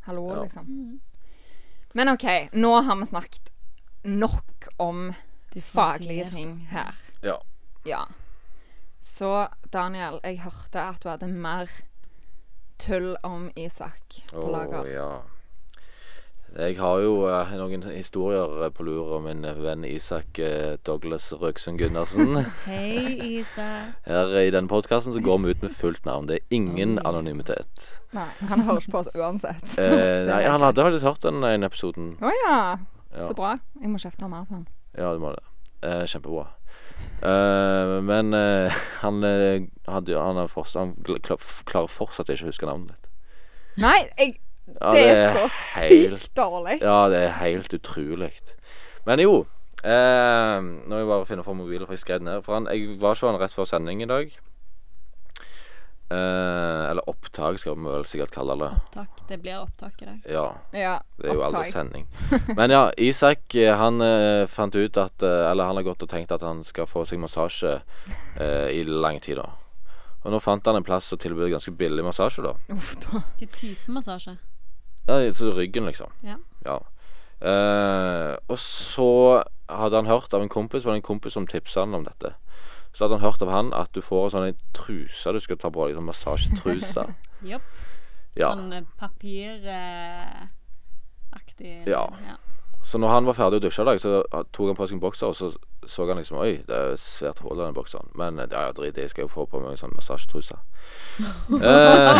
S3: Hallo,
S1: Ja.
S3: liksom. Men OK, nå har vi snakket nok om faglige ting her.
S1: Ja.
S3: Ja. Så Daniel, jeg hørte at du hadde mer tull om Isak på
S1: Å
S3: lager.
S1: ja. Jeg har jo eh, noen historier på lur om min venn Isak eh, Douglas Røksund Gundersen.
S2: Hei, Isak.
S1: Her i denne podkasten går vi ut med fullt navn. Det er ingen
S3: Mm. [LAUGHS]
S1: anonymitet.
S3: Nei, han hører ikke på oss
S1: [LAUGHS]
S3: uansett.
S1: Eh, nei, han hadde faktisk hørt den ene episoden.
S3: Å ja.
S1: Ja.
S3: Så bra. Jeg må kjefte mer på han.
S1: Ja, du må det. Eh, kjempebra. Eh, men eh, [LAUGHS] han, eh, hadde, jo- han, har fortsatt, han gl- kla- f- klarer fortsatt ikke å huske navnet ditt.
S3: Nei, jeg,
S1: Ja,
S3: det er så
S1: helt-
S3: sykt dårlig.
S1: Ja, det er helt utrolig. Men jo eh, Nå må jeg bare finne for mobilen, for jeg skrev den ned. For han, jeg var ikke han rett før sending i dag. Eh, eller opptak, skal vi vel sikkert kalle det.
S2: Takk. Det blir opptak i dag.
S1: Ja.
S3: Ja,
S1: Det er jo aldri
S3: opptak.
S1: sending. Men ja, Isak eh, han eh, fant ut at eh, Eller han har gått og tenkt at han skal få seg massasje eh, i lang tid, da. Og nå fant han en plass som tilbød ganske billig massasje, da.
S3: Uff da.
S2: Hvilken type massasje?
S1: Ja, så ryggen, liksom.
S2: Ja.
S1: Eh, og så hadde han hørt av en kompis, var det en kompis som tipsa han om dette. Så hadde han hørt av han at du får en sånn truse du skal ta på deg, sånn massasjetruse.
S2: [LAUGHS] Jopp.
S1: Ja.
S2: Sånn eh, papiraktig eh,
S1: Ja. Så når han var ferdig å dusje i dag, så tok han på seg en bokser, og så så han liksom Oi, det er jo et svært hull i den bokseren. Men eh, det er jo drit i, jeg skal jo få på meg en sånn massasjetruse. Eh,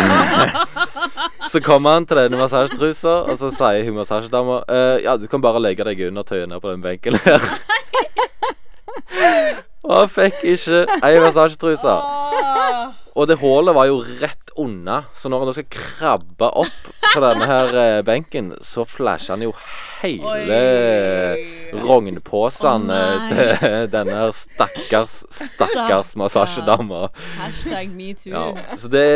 S1: [LAUGHS] så kommer han til denne massasjetrusa, og så sier hun massasjedama eh, Ja, du kan bare legge deg under tøyet ned på den benken her. [LAUGHS] og han fikk ikke ei massasjetruse.
S2: Åh,
S1: Og det hullet var jo rett unna, så når han da skal krabbe opp på denne her eh, benken, så flasher han jo hele
S2: Oi. Å,
S1: rognposen eh,
S2: nei.
S1: til denne her stakkars, stakkars
S2: Stakkars.
S1: massasjedama.
S2: Hashtag metoo.
S1: Ja, så det,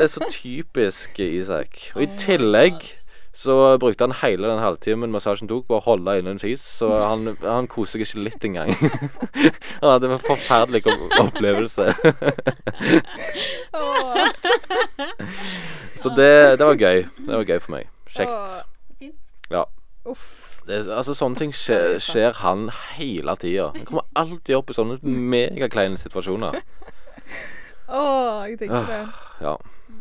S1: det er så typisk Isak. Og i tillegg så brukte han hele den halvtimen massasjen tok på å holde inne en fis, så han, han koser seg ikke litt engang. [LAUGHS] han hadde en forferdelig opp- opplevelse.
S3: Åh.
S1: Så det, det var gøy. Det var gøy for meg. Kjekt.
S3: Åh.
S2: Fint.
S1: Ja.
S3: Uff.
S1: Det, altså Sånne ting skjer, skjer han hele tida. Han kommer alltid opp i sånne megakleine situasjoner.
S3: Åh, jeg digger det.
S1: Ja.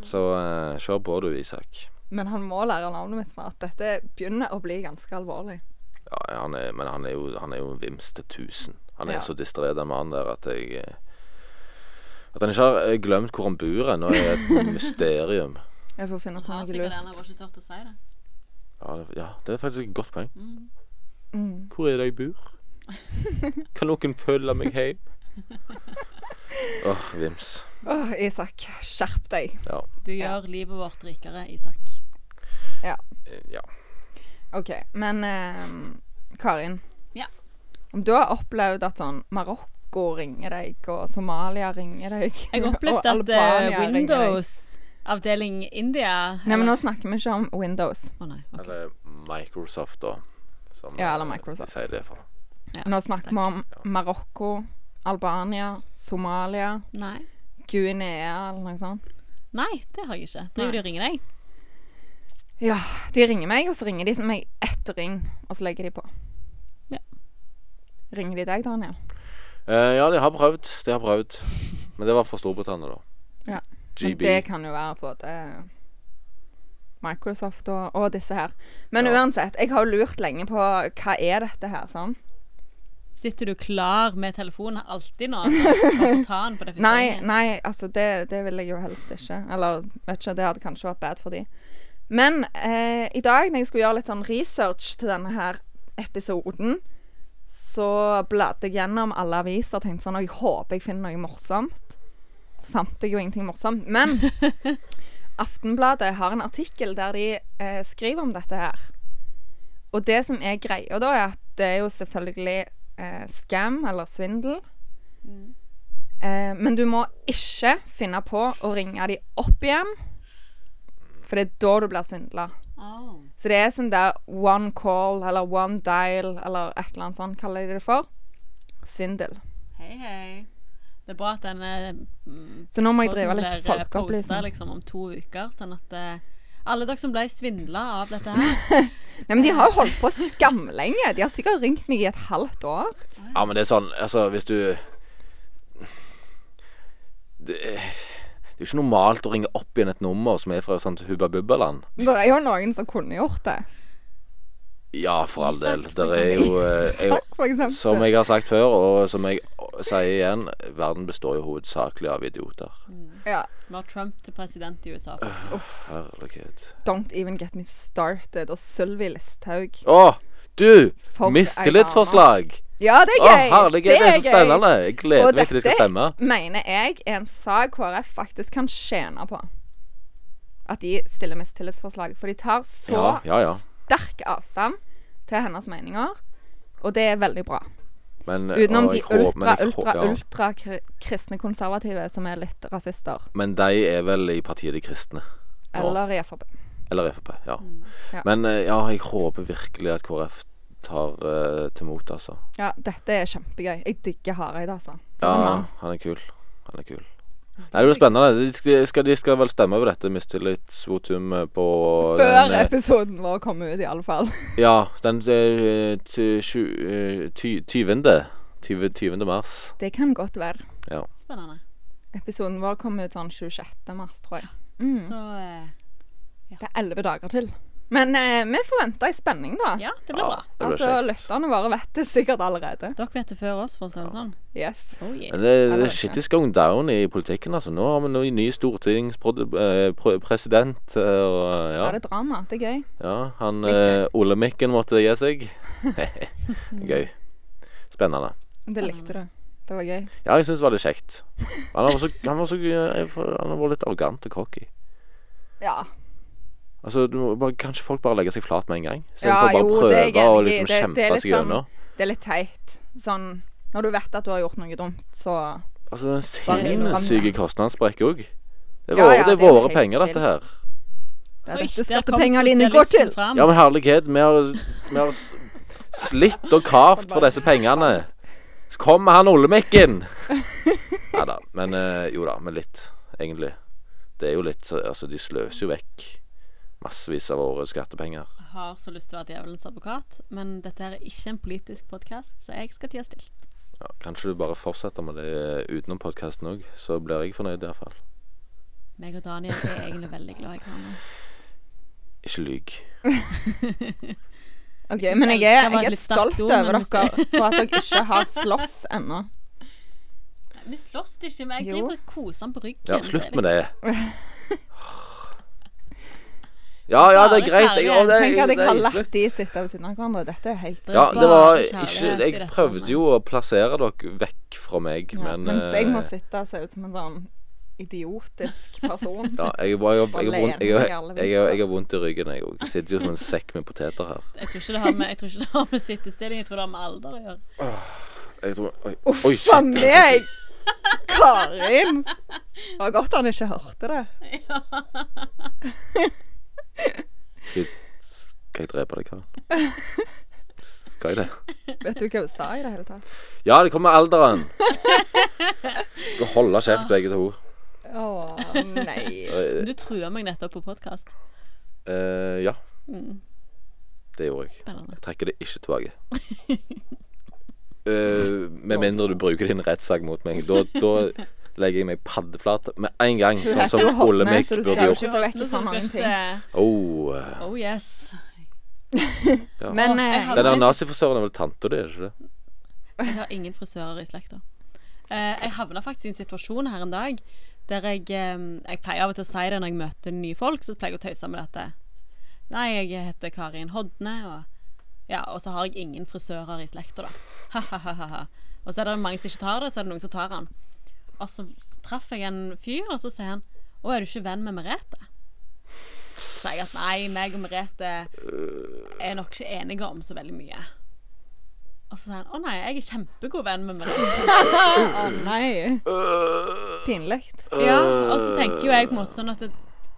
S1: Så eh, se på du, Isak.
S3: Men han må lære navnet mitt snart. Dette begynner å bli ganske alvorlig.
S1: Ja, han er, men han er jo han er jo en vims til tusen. Han er
S3: Ja.
S1: så distré, den mannen der, at jeg eh, At han ikke har eh, glemt hvor han bor ennå, er et
S3: [LAUGHS]
S1: mysterium.
S3: Jeg får finne på
S2: Har
S3: noe
S2: sikkert den, jeg
S3: lurt.
S2: var ikke tørt å si det.
S1: Ja, det, ja, det er faktisk et godt poeng.
S2: Mm.
S3: Mm.
S1: Hvor er det jeg bor? Kan noen følge meg
S3: [LAUGHS]
S1: hjem? Åh, vims.
S3: Åh, Isak, skjerp deg.
S2: Du
S3: Ja.
S2: gjør livet vårt rikere, Isak.
S1: Eh, Ja.
S3: OK, men ehm, Karin.
S2: Ja.
S3: Om du har opplevd at sånn Marokko ringer deg, og Somalia ringer deg
S2: [LAUGHS] Jeg
S3: og
S2: opplevde at eh,
S3: Albania ringer deg.
S2: Windows avdeling India
S3: Nei, men nå snakker vi ikke om Windows.
S2: Å nei. ok.
S1: Eller Microsoft, da. Som
S3: Ja, eller
S1: eh,
S3: Microsoft.
S1: De sier det for.
S3: Nå snakker vi om Marokko, Albania, Somalia,
S2: Nei.
S3: Guinea eller noe sånt.
S2: nei, det har jeg ikke. Driver de og ringer deg?
S3: Ja, de ringer meg, og så ringer de meg ett ring, og så legger de på.
S2: Ja.
S3: Ringer de deg, Daniel?
S1: Eh, ja, de har prøvd. De har prøvd. Men det var for Storbritannia, da.
S3: Ja. Men
S1: GB.
S3: det kan jo være både Microsoft og, og disse her. Men
S1: Ja.
S3: uansett, jeg har jo lurt lenge på hva er dette her, sånn.
S2: Sitter du klar med telefonen alltid nå? Altså, bare
S3: [LAUGHS]
S2: for å ta den på det første
S3: Nei,
S2: ringen?
S3: nei, altså det, det vil jeg jo helst ikke. Eller vet ikke, det hadde kanskje vært bad for de. Men eh, i dag når jeg skulle gjøre litt sånn research til denne her episoden, så bladde jeg gjennom alle aviser og tenkte sånn «Å, Jeg håper jeg finner noe morsomt. Så fant jeg jo ingenting morsomt. Men Aftenbladet har en artikkel der de eh, skriver om dette her. Og det som er greia da, er at det er jo selvfølgelig eh, scam eller svindel.
S2: Mm.
S3: Eh, men du må ikke finne på å ringe de opp igjen, for det er da du blir svindla.
S2: Åh.
S3: Så det er sånn der one call eller one dial eller et eller annet sånt kaller de det for. Svindel.
S2: Hei, hei. Det er bra at denne mm,
S3: Så nå må jeg drive
S2: podden
S3: litt
S2: blir, eh, postet,
S3: folkeopplysning.
S2: liksom om to uker, sånn at eh, alle dere som ble svindla av dette
S3: [LAUGHS]
S2: her
S3: Nei, men de har jo holdt på skamlenge. De har sikkert ringt meg i et halvt år.
S1: Ja, men det er sånn Altså, hvis du Det er det er jo ikke normalt å ringe opp igjen et nummer som er fra sånt Hubba Bubba-land.
S3: Det er jo noen som kunne gjort det.
S1: Ja, for all del.
S2: Isak,
S1: Det
S2: for
S1: er jo eh, jeg,
S3: [LAUGHS] Takk, for eksempel.
S1: Som jeg har sagt før, og som jeg sier igjen, verden består jo hovedsakelig av idioter.
S3: ja.
S2: Vi har Trump til president i USA.
S3: Uff.
S1: Herregud.
S3: Don't even get me started. Og Sylvi Listhaug.
S1: Å, du!
S3: For ei
S1: Mistillitsforslag!
S3: Ja, det er
S1: Å,
S3: gøy!
S1: herregud, det er så spennende! Jeg gleder
S3: Og
S1: meg til det skal
S3: dette-
S1: stemme.
S3: Mener jeg er en sak KrF faktisk kan tjene på. At de stiller mistillitsforslag. For de tar så
S1: Ja, ja, ja.
S3: sterk avstand til hennes meninger. Og det er veldig bra.
S1: Men,
S3: Utenom
S1: og
S3: de
S1: jeg håper- men
S3: ultra,
S1: jeg håper-
S3: ultra,
S1: ja.
S3: ultra kri- kristne konservative som er litt rasister.
S1: Men de er vel i partiet De kristne. nå.
S3: Eller i Frp.
S1: Eller Frp, ja.
S3: Mm, Ja.
S1: Men eh, ja, jeg håper virkelig at KrF tar eh, til mot, altså.
S3: Ja, dette er kjempegøy. Jeg digger Hareide, altså. For en
S1: Ja,
S3: mann.
S1: han er kul. Han er kul.
S3: Mm.
S1: Nei, Det blir spennende. De skal, de skal, de skal vel stemme over dette mistillitsvotum eh, på
S3: Før
S1: den, eh,
S3: episoden vår kommer ut, iallfall.
S1: Ja, den eh, ty- tju- eh, ty- 20. 20. 20. mars.
S3: Det kan godt være.
S2: Spennende.
S3: Episoden vår kommer ut sånn 26. mars, tror jeg. Mm.
S2: Så eh,
S3: Det er elleve dager til. Men eh, vi forventer ei spenning, da.
S2: ja, det blir
S1: Ja.
S2: bra.
S1: det blir
S3: altså,
S1: kjekt.
S3: lytterne våre vet det sikkert allerede.
S2: Dere vet det før oss, for å si det sånn.
S3: Yes.
S2: Oh, yeah.
S1: Men det,
S3: det
S1: det
S3: vet
S1: er shit is going down i politikken, altså. Nå har vi noen ny stortingspresident, og eh,
S3: Ja.
S1: ja.
S3: Er det drama? Det er gøy.
S1: ja han
S3: Litt gøy.
S1: eh, Ole Mikken måtte gi
S3: [LAUGHS]
S1: seg. [LAUGHS] Gøy. Spennende.
S3: Det likte du. Det var gøy.
S1: Ja, jeg syns det var litt kjekt. Han var, så, han, var så, eh, jeg- han var litt arrogant og cocky.
S3: Ja.
S1: Altså, du må bare, kanskje folk bare legger seg flat med en gang?
S3: Ja,
S1: Istedenfor ja, bare
S3: jo,
S1: å
S3: det er jeg
S1: prøve å
S3: enig i.
S1: liksom
S3: Det- det er
S1: kjempe
S3: litt sånn
S1: seg gjennom.
S3: Det er litt teit. Sånn når du vet at du har gjort noe dumt, så
S1: Altså, den
S3: Bare ignorant,
S1: sinnssyke kostnadssprekk òg. Det er
S3: Ja,
S1: våre,
S3: ja,
S1: det er
S3: det er
S1: våre
S3: helt
S1: penger,
S3: vilt.
S1: dette her.
S3: Det er
S2: Oi,
S3: dette
S2: der kom
S3: skattepengene dine går
S2: sosialisten
S3: til.
S2: Fram.
S1: Ja, men herlighet, vi har, vi har s- slitt og kavt for disse pengene. Så kom med han Olemikken! [LAUGHS] Nei da. Men eh, jo da, men litt, egentlig. Det er jo litt så- Altså, de sløser jo vekk massevis av våre skattepenger.
S2: Jeg har så lyst til å være djevelens advokat, men dette her er ikke en politisk podkast, så jeg skal tie stille.
S1: Ja, kanskje du bare fortsetter med det utenom podkasten òg, så blir jeg fornøyd iallfall.
S2: Meg og Daniel er egentlig veldig glad i hverandre.
S1: Ikke lyg.
S3: OK,
S2: Jeg synes
S3: men jeg
S2: elsker
S3: er,
S2: var et
S3: jeg er
S2: litt sterkt
S3: stolt
S2: ord,
S3: over
S2: men
S3: dere
S2: hvis
S3: for at dere ikke har slåss ennå.
S2: Nei, Vi slåss ikke, men jeg
S3: Jo.
S2: driver og koser han på ryggen.
S1: Ja, slutt med
S2: liksom-
S1: det. Ja, ja, det er
S2: Bare
S1: greit. Jeg, å, [LAUGHS] det,
S3: Tenk at
S1: det
S3: jeg har
S1: er
S3: latt de
S1: slutt.
S3: sitte ved siden av hverandre. Dette er helt
S1: Ja, det var
S2: Svare
S1: ikke
S2: kjærlighet i
S1: Jeg
S2: dette
S1: prøvde
S2: rommet.
S1: jo å plassere dere vekk fra meg,
S3: Ja,
S1: men
S3: mens jeg må
S1: eh,
S3: sitte og se ut som en sånn idiotisk person.
S1: ja, jeg, var- jeg, jeg,
S3: Bare
S1: jeg, har vondt-
S3: lene
S1: jeg,
S3: meg i alle
S1: jeg, jeg, jeg har vondt i ryggen, jeg òg. Sitter jo som en sekk med poteter her.
S2: Jeg tror ikke det har med, jeg tror ikke det har med sittestilling, jeg tror det har med alder å gjøre.
S1: Jeg tror, oi,
S3: Uff
S1: oi,
S3: a
S1: shit.
S3: meg! Karin! Det var godt han ikke hørte det.
S1: [LAUGHS] Skal jeg drepe deg, Karen? Skal jeg det?
S3: Vet du hva hun sa i det hele tatt?
S1: Ja, det kommer alderen. Du skal holde kjeft, begge to.
S3: Å nei.
S2: Men du truer meg nettopp på podkast.
S1: Eh, ja.
S3: Mm.
S1: Det gjorde jeg.
S2: Spennende.
S1: Jeg trekker det ikke tilbake. Eh, med mindre du bruker din rettssag mot meg. Da, da legger jeg meg paddeflat med en gang,
S3: Du
S1: sånn
S3: heter jo
S1: som
S3: Hotne,
S1: Ole Mikk
S3: så du skal
S1: burde
S3: jo
S1: gjort.
S3: ikke- Så vekk
S2: Nå
S3: fra
S2: skal
S3: mange
S2: du se-
S1: Oh, eh,
S2: Oh yes.
S3: Men
S2: Å, jeg
S3: eh,
S2: hadde-
S1: den der nazifrisøren er vel tanta di, er det ikke det?
S2: Jeg har ingen frisører i slekta. Eh, jeg havna faktisk i en situasjon her en dag der jeg eh, Jeg pleier av og til å si det når jeg møter nye folk, så pleier jeg å tøyse med dette. Nei, jeg heter Karin Hodne, og ja, og så har jeg ingen frisører i slekta, da. Ha-ha-ha. Og så er det mange som ikke tar det, så er det noen som tar den. Og så traff jeg en fyr, og så sier han Å, er du ikke venn med Merete? Så sier jeg at nei, meg og Merete er nok ikke enige om så veldig mye. Og så sier han å nei, jeg er kjempegod venn med Merete.
S3: Å nei. Pinlig.
S2: Ja, og så tenker jo jeg på en måte sånn at det,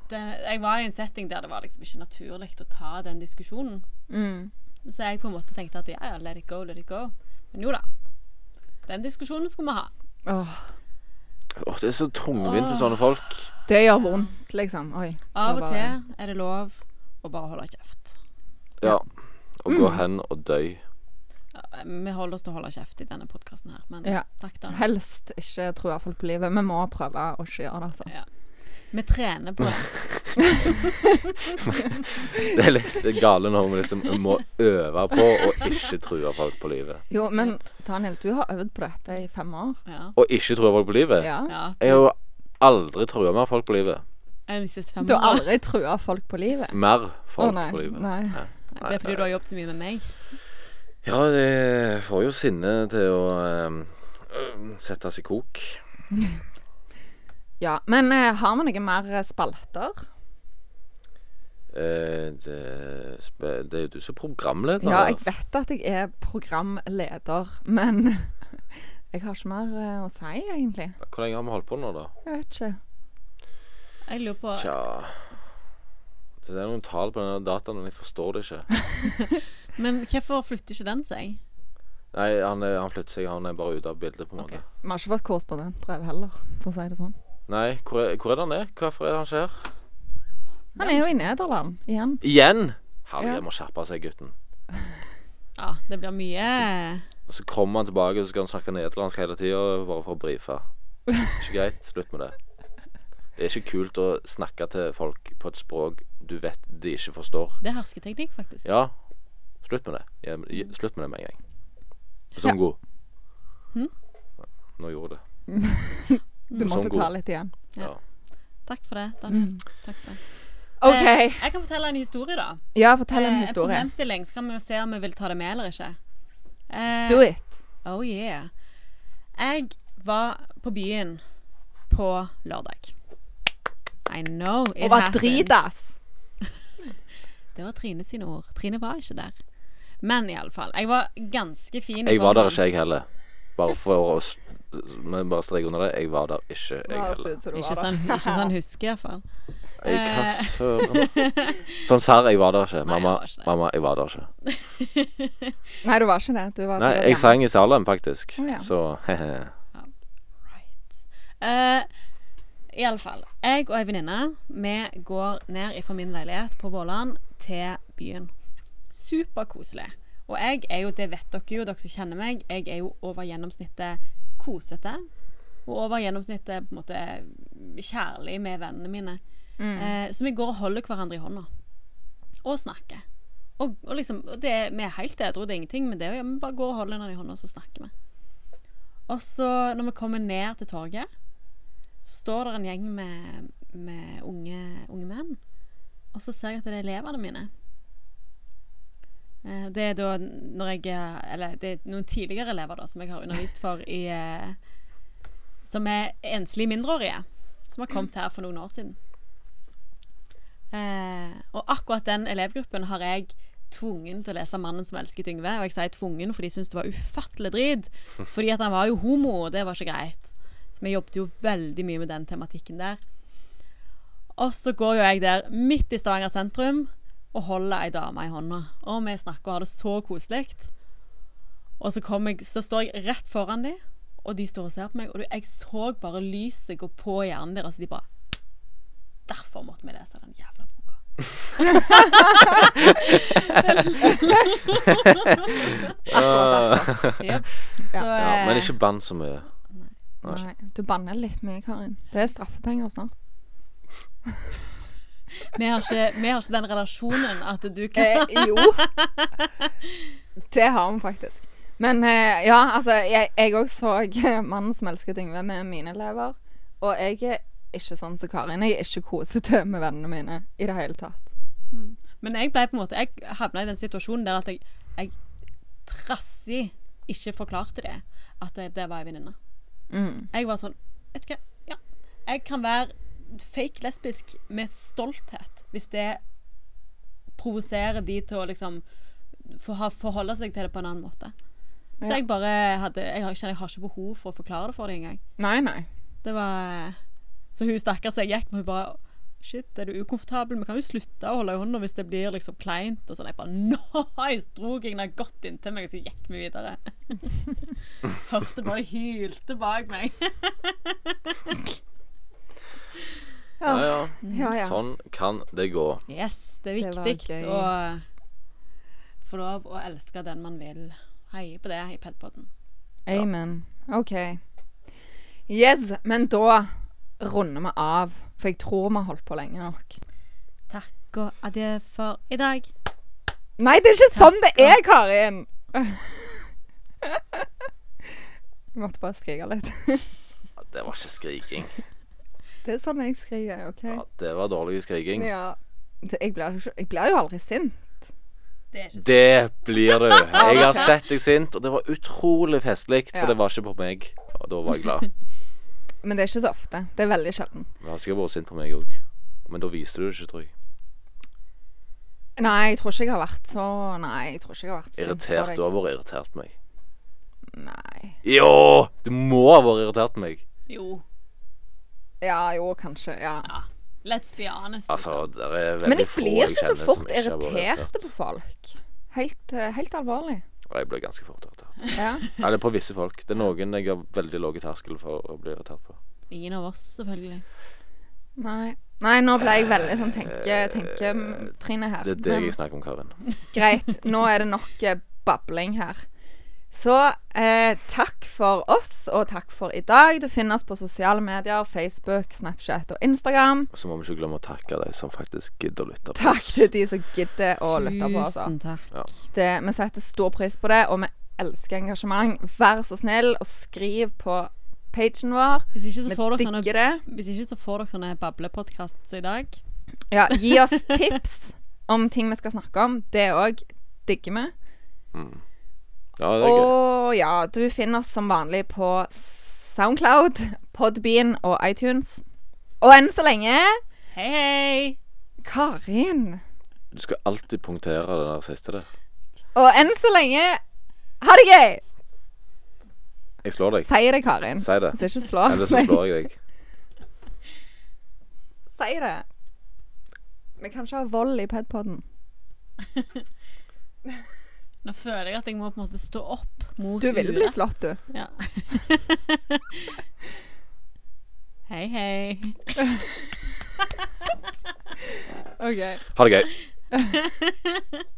S2: det, jeg var i en setting der det var liksom ikke naturlig å ta den diskusjonen.
S3: Mm.
S2: Så jeg på en måte tenkte at ja, ja, let it go, let it go. Men jo da. Den diskusjonen skulle vi ha.
S3: Åh,
S1: Åh, det er så tungvint med sånne folk.
S3: det gjør vondt, liksom. Oi. det
S2: Av
S3: var
S2: og
S3: bare-
S2: til er det lov å bare holde kjeft.
S1: Ja. Å gå
S3: Mm.
S1: hen og dø.
S2: Ja, Vi holder oss til å holde kjeft i denne podkasten her, men
S3: Ja.
S2: takk, da.
S3: Helst ikke true folk på livet. Vi må prøve å ikke gjøre det, altså.
S2: Vi trener på det. [LAUGHS]
S1: Det er litt det gale når vi liksom må øve på å ikke true folk på livet.
S3: Jo, men Daniel, du har øvd på dette i fem år.
S2: Ja.
S1: Å ikke true folk på livet?
S3: Ja.
S2: ja
S1: Jeg har jo aldri trua mer folk på livet.
S2: er de siste fem
S3: Du har
S2: årene.
S3: aldri trua folk på livet.
S1: Mer
S3: Å
S1: folk
S3: nei.
S1: på livet.
S3: nei.
S2: Nei, Det er fordi du har jobbet så mye med meg.
S1: Ja, det får jo sinnet til å eh, settes i kok.
S3: Ja, Men eh, har vi noen mer eh, spalter?
S1: Eh, det, sp- det er jo du som er programleder.
S3: Ja, jeg vet at jeg er programleder, men [LAUGHS] jeg har ikke mer eh, å si, egentlig.
S1: Hvor lenge har vi holdt på nå, da?
S3: Jeg vet ikke.
S2: Jeg lurer på
S1: Tja Det er noen tall på denne dataen, men jeg forstår det ikke.
S2: Men hvorfor flytter ikke den seg?
S1: Nei, han, er- han flytter seg, han er bare ute av bildet, på en måte.
S3: Vi har ikke fått korrespondentbrev heller, for å si det sånn.
S1: Nei, hvor er, hvor er det han er? Hvorfor er han ikke her?
S3: Han er jo i Nederland igjen.
S1: Igjen! Herlig,
S3: Ja.
S1: jeg må skjerpe seg, gutten.
S2: Ja, det blir mye
S1: Og så kommer han tilbake, og så skal han snakke nederlandsk hele tida, bare for å brife. Ikke greit. Slutt med det. Det er ikke kult å snakke til folk på et språk du vet de ikke forstår.
S2: Det er hersketeknikk, faktisk.
S1: Ja, slutt med det. Ja, men- ja, Slutt med det med en gang. Zongo.
S2: Hm?
S1: Nå gjorde det.
S3: Du
S2: Mm.
S1: Sånn
S3: måtte
S1: god.
S3: ta litt igjen.
S1: Ja.
S2: Takk for det, Daniel. Takk for det. Mm. Eh,
S3: Mm. OK.
S2: Jeg kan fortelle en historie, da.
S3: Ja, fortell en
S2: Eh,
S3: historie.
S2: problemstilling. Så kan vi jo se om vi vil ta det med eller ikke. Eh,
S3: Do it.
S2: Oh yeah. Jeg var på byen på lørdag. I know it
S3: Og var
S2: happens.
S3: dritass.
S2: Det var Trine sine ord. Trine var ikke der. Men iallfall. Jeg var ganske fin. i
S1: Jeg var der
S2: formen.
S1: ikke, jeg heller. Bare for å s- men bare strek under det. Jeg var der ikke, jeg heller.
S2: Ikke sånn, ikke sånn husker, iallfall.
S1: Jeg, hva søren Sånn serr, jeg var der ikke.
S2: Eh. Nei, jeg
S1: Mamma,
S2: var ikke der.
S1: mamma, jeg var der ikke.
S3: Nei, du var ikke det. Du var
S1: Nei,
S3: sikkert
S1: jeg
S3: hjemme.
S1: sang i Salem, faktisk.
S3: Å, ja.
S1: Så [LAUGHS] he-he.
S2: Right. Uh, Iallfall. Jeg og ei venninne vi går ned fra min leilighet på Våland til byen. Superkoselig. Og jeg er jo, det vet dere jo, dere som kjenner meg, jeg er jo over gjennomsnittet kosete. Og over gjennomsnittet på en måte kjærlig med vennene mine. Eh, så vi går og holder hverandre i hånda. Og snakker. Og, og liksom, og det, vi er helt edru, det er ingenting, men det er jo, vi bare går og holder hverandre i hånda, og så snakker vi. Og så når vi kommer ned til torget, så står det en gjeng med, med unge, unge menn. Og så ser jeg at det er elevene mine. Eh, Det er da når jeg eh, Eller det er noen tidligere elever da som jeg har undervist for i eh, Som er enslige mindreårige. Som har kommet her for noen år siden. Eh, og akkurat den elevgruppen har jeg tvungen til å lese 'Mannen som elsket Yngve'. Og jeg sier tvungen fordi jeg syntes det var ufattelig drit. Fordi at han var jo homo, og det var ikke greit. Så vi jobbet jo veldig mye med den tematikken der. Og så går jo jeg der midt i Stavanger sentrum og holder ei dame i hånda. Og vi snakker og har det så koselig. Og så, kom jeg, så står jeg rett foran dem, og de står og ser på meg. Og du- jeg så bare lyset gå på i hjernen deres. De bare Derfor måtte vi lese den jævla
S1: [LAUGHS]
S2: boka. Jep. Så,
S1: [LAUGHS] Ja, men
S2: eh,
S1: ikke bann så mye.
S3: Nei, du banner litt mye, Karin. Det er straffepenger snart.
S2: vi, har ikke, vi har ikke den relasjonen at du kan
S3: Eh, jo. Det har vi faktisk. Men eh, ja, altså, jeg òg så [LAUGHS] 'Mannen som elsket Yngve' med mine elever. Og jeg er ikke sånn som Karin. Jeg er ikke kosete med vennene mine i det hele tatt.
S2: Men jeg ble på en måte Jeg havna i den situasjonen der at jeg, jeg trassig ikke forklarte det. At det, det var ei venninne.
S3: Mm.
S2: Jeg var sånn Vet du hva, ja. Jeg kan være fake lesbisk med stolthet hvis det provoserer de til å liksom få ha- forholde seg til det på en annen måte. Så
S3: Ja.
S2: jeg bare hadde Jeg har- kjenner jeg har ikke behov for å forklare det for dem engang.
S3: Nei, nei.
S2: Det var eh, Så hun stakkars jeg gikk med, hun bare Shit, er du ukomfortabel? Vi kan jo slutte å holde i hånda hvis det blir liksom kleint og sånn. Jeg bare Nice! Dro jeg henne godt inntil meg, og så gikk vi videre. [LAUGHS] Hørte bare hylte bak meg.
S1: Ja, ja.
S3: Ja, ja.
S1: Sånn kan det gå.
S2: Yes, det er
S3: Det var
S2: viktig
S3: gøy.
S2: å få lov å elske den man vil. Heie på det i Pedpoden.
S3: Amen. OK. Yes, men da runder vi av. For jeg tror vi har holdt på lenge nok.
S2: Takk og adjø for i dag.
S3: Nei, det er ikke sånn det er, Karin! [LAUGHS] Jeg måtte bare skrike litt.
S1: Det var ikke skriking.
S3: Det er sånn jeg skriker, OK?
S1: Ja, det var dårlig skriking.
S3: Ja. Det, jeg, blir, jo ikke- jeg blir jo aldri sint.
S2: Det er ikke sånn.
S1: Det blir
S3: [LAUGHS]
S1: du. Jeg har sett deg sint, og det var utrolig festlig, for
S3: Ja.
S1: det var ikke på meg. Og da var jeg
S3: [LAUGHS]
S1: glad.
S3: Men det er ikke så ofte. Det er veldig sjelden.
S1: Du har sikkert vært sint på meg òg, men da viste du det ikke, tror jeg.
S3: Nei, jeg tror ikke jeg har vært så Nei, jeg tror ikke jeg har vært sint på
S1: Irritert.
S3: deg.
S1: Du har vært irritert på meg.
S3: Nei.
S1: Jo! Du må ha vært irritert på meg.
S2: Jo.
S3: Ja, jo, kanskje. Ja.
S2: Ja. Let's be honest.
S1: Altså,
S2: liksom.
S1: det er veldig
S3: Men jeg
S1: få
S3: blir ikke så
S1: kjenner som
S3: fort
S1: ikke har vært
S3: irritert på folk. Helt, eh, helt alvorlig.
S1: Og jeg blir ganske fort irritert.
S3: Ja.
S1: Eller på visse folk. Det er noen jeg har veldig lav terskel for å bli irritert på.
S2: Ingen av oss, selvfølgelig.
S3: Nei. Nei, nå ble jeg veldig sånn tenke, tenke Trine
S1: Eh,
S3: her.
S1: Det er det
S3: Men-
S1: jeg snakker om, Karin.
S3: Greit, nå er det nok eh, babling her. Så eh, takk for oss, og takk for i dag. Du finner oss på sosiale medier, Facebook, Snapchat og Instagram.
S1: Og så må vi ikke glemme å takke de som faktisk gidder å lytte på
S3: Takk til de som gidder å lytte på altså. oss.
S2: Tusen takk.
S3: Det, vi setter stor pris på det, og vi elsker engasjement. Vær så snill og skriv på pagen vår.
S2: Hvis ikke så
S3: Vi
S2: får dere sånne
S3: digger det.
S2: Hvis ikke så får dere sånne bablepodkaster som i dag.
S3: Ja, gi
S2: [LAUGHS]
S3: oss tips om ting vi skal snakke om. Det òg digger vi.
S1: Ja, det er gøy.
S3: Og ja, du finner oss som vanlig på Soundcloud, Podbean og iTunes. Og enn så lenge
S2: Hei, hei!
S3: Karin.
S1: Du skal alltid punktere den der siste der.
S3: Og enn så lenge Ha det gøy!
S1: Jeg slår deg.
S3: Si det, Karin.
S1: Si det.
S3: Så ikke slå.
S1: Eller så slår jeg deg.
S3: [LAUGHS] Si det. Vi kan ikke ha vold i E padpoden.
S2: Nå føler jeg at jeg må på en måte stå opp mot
S3: Du ville bli
S2: urett.
S3: slått, du.
S2: Ja. [LAUGHS] hei, hei.
S3: OK.
S1: Ha det gøy.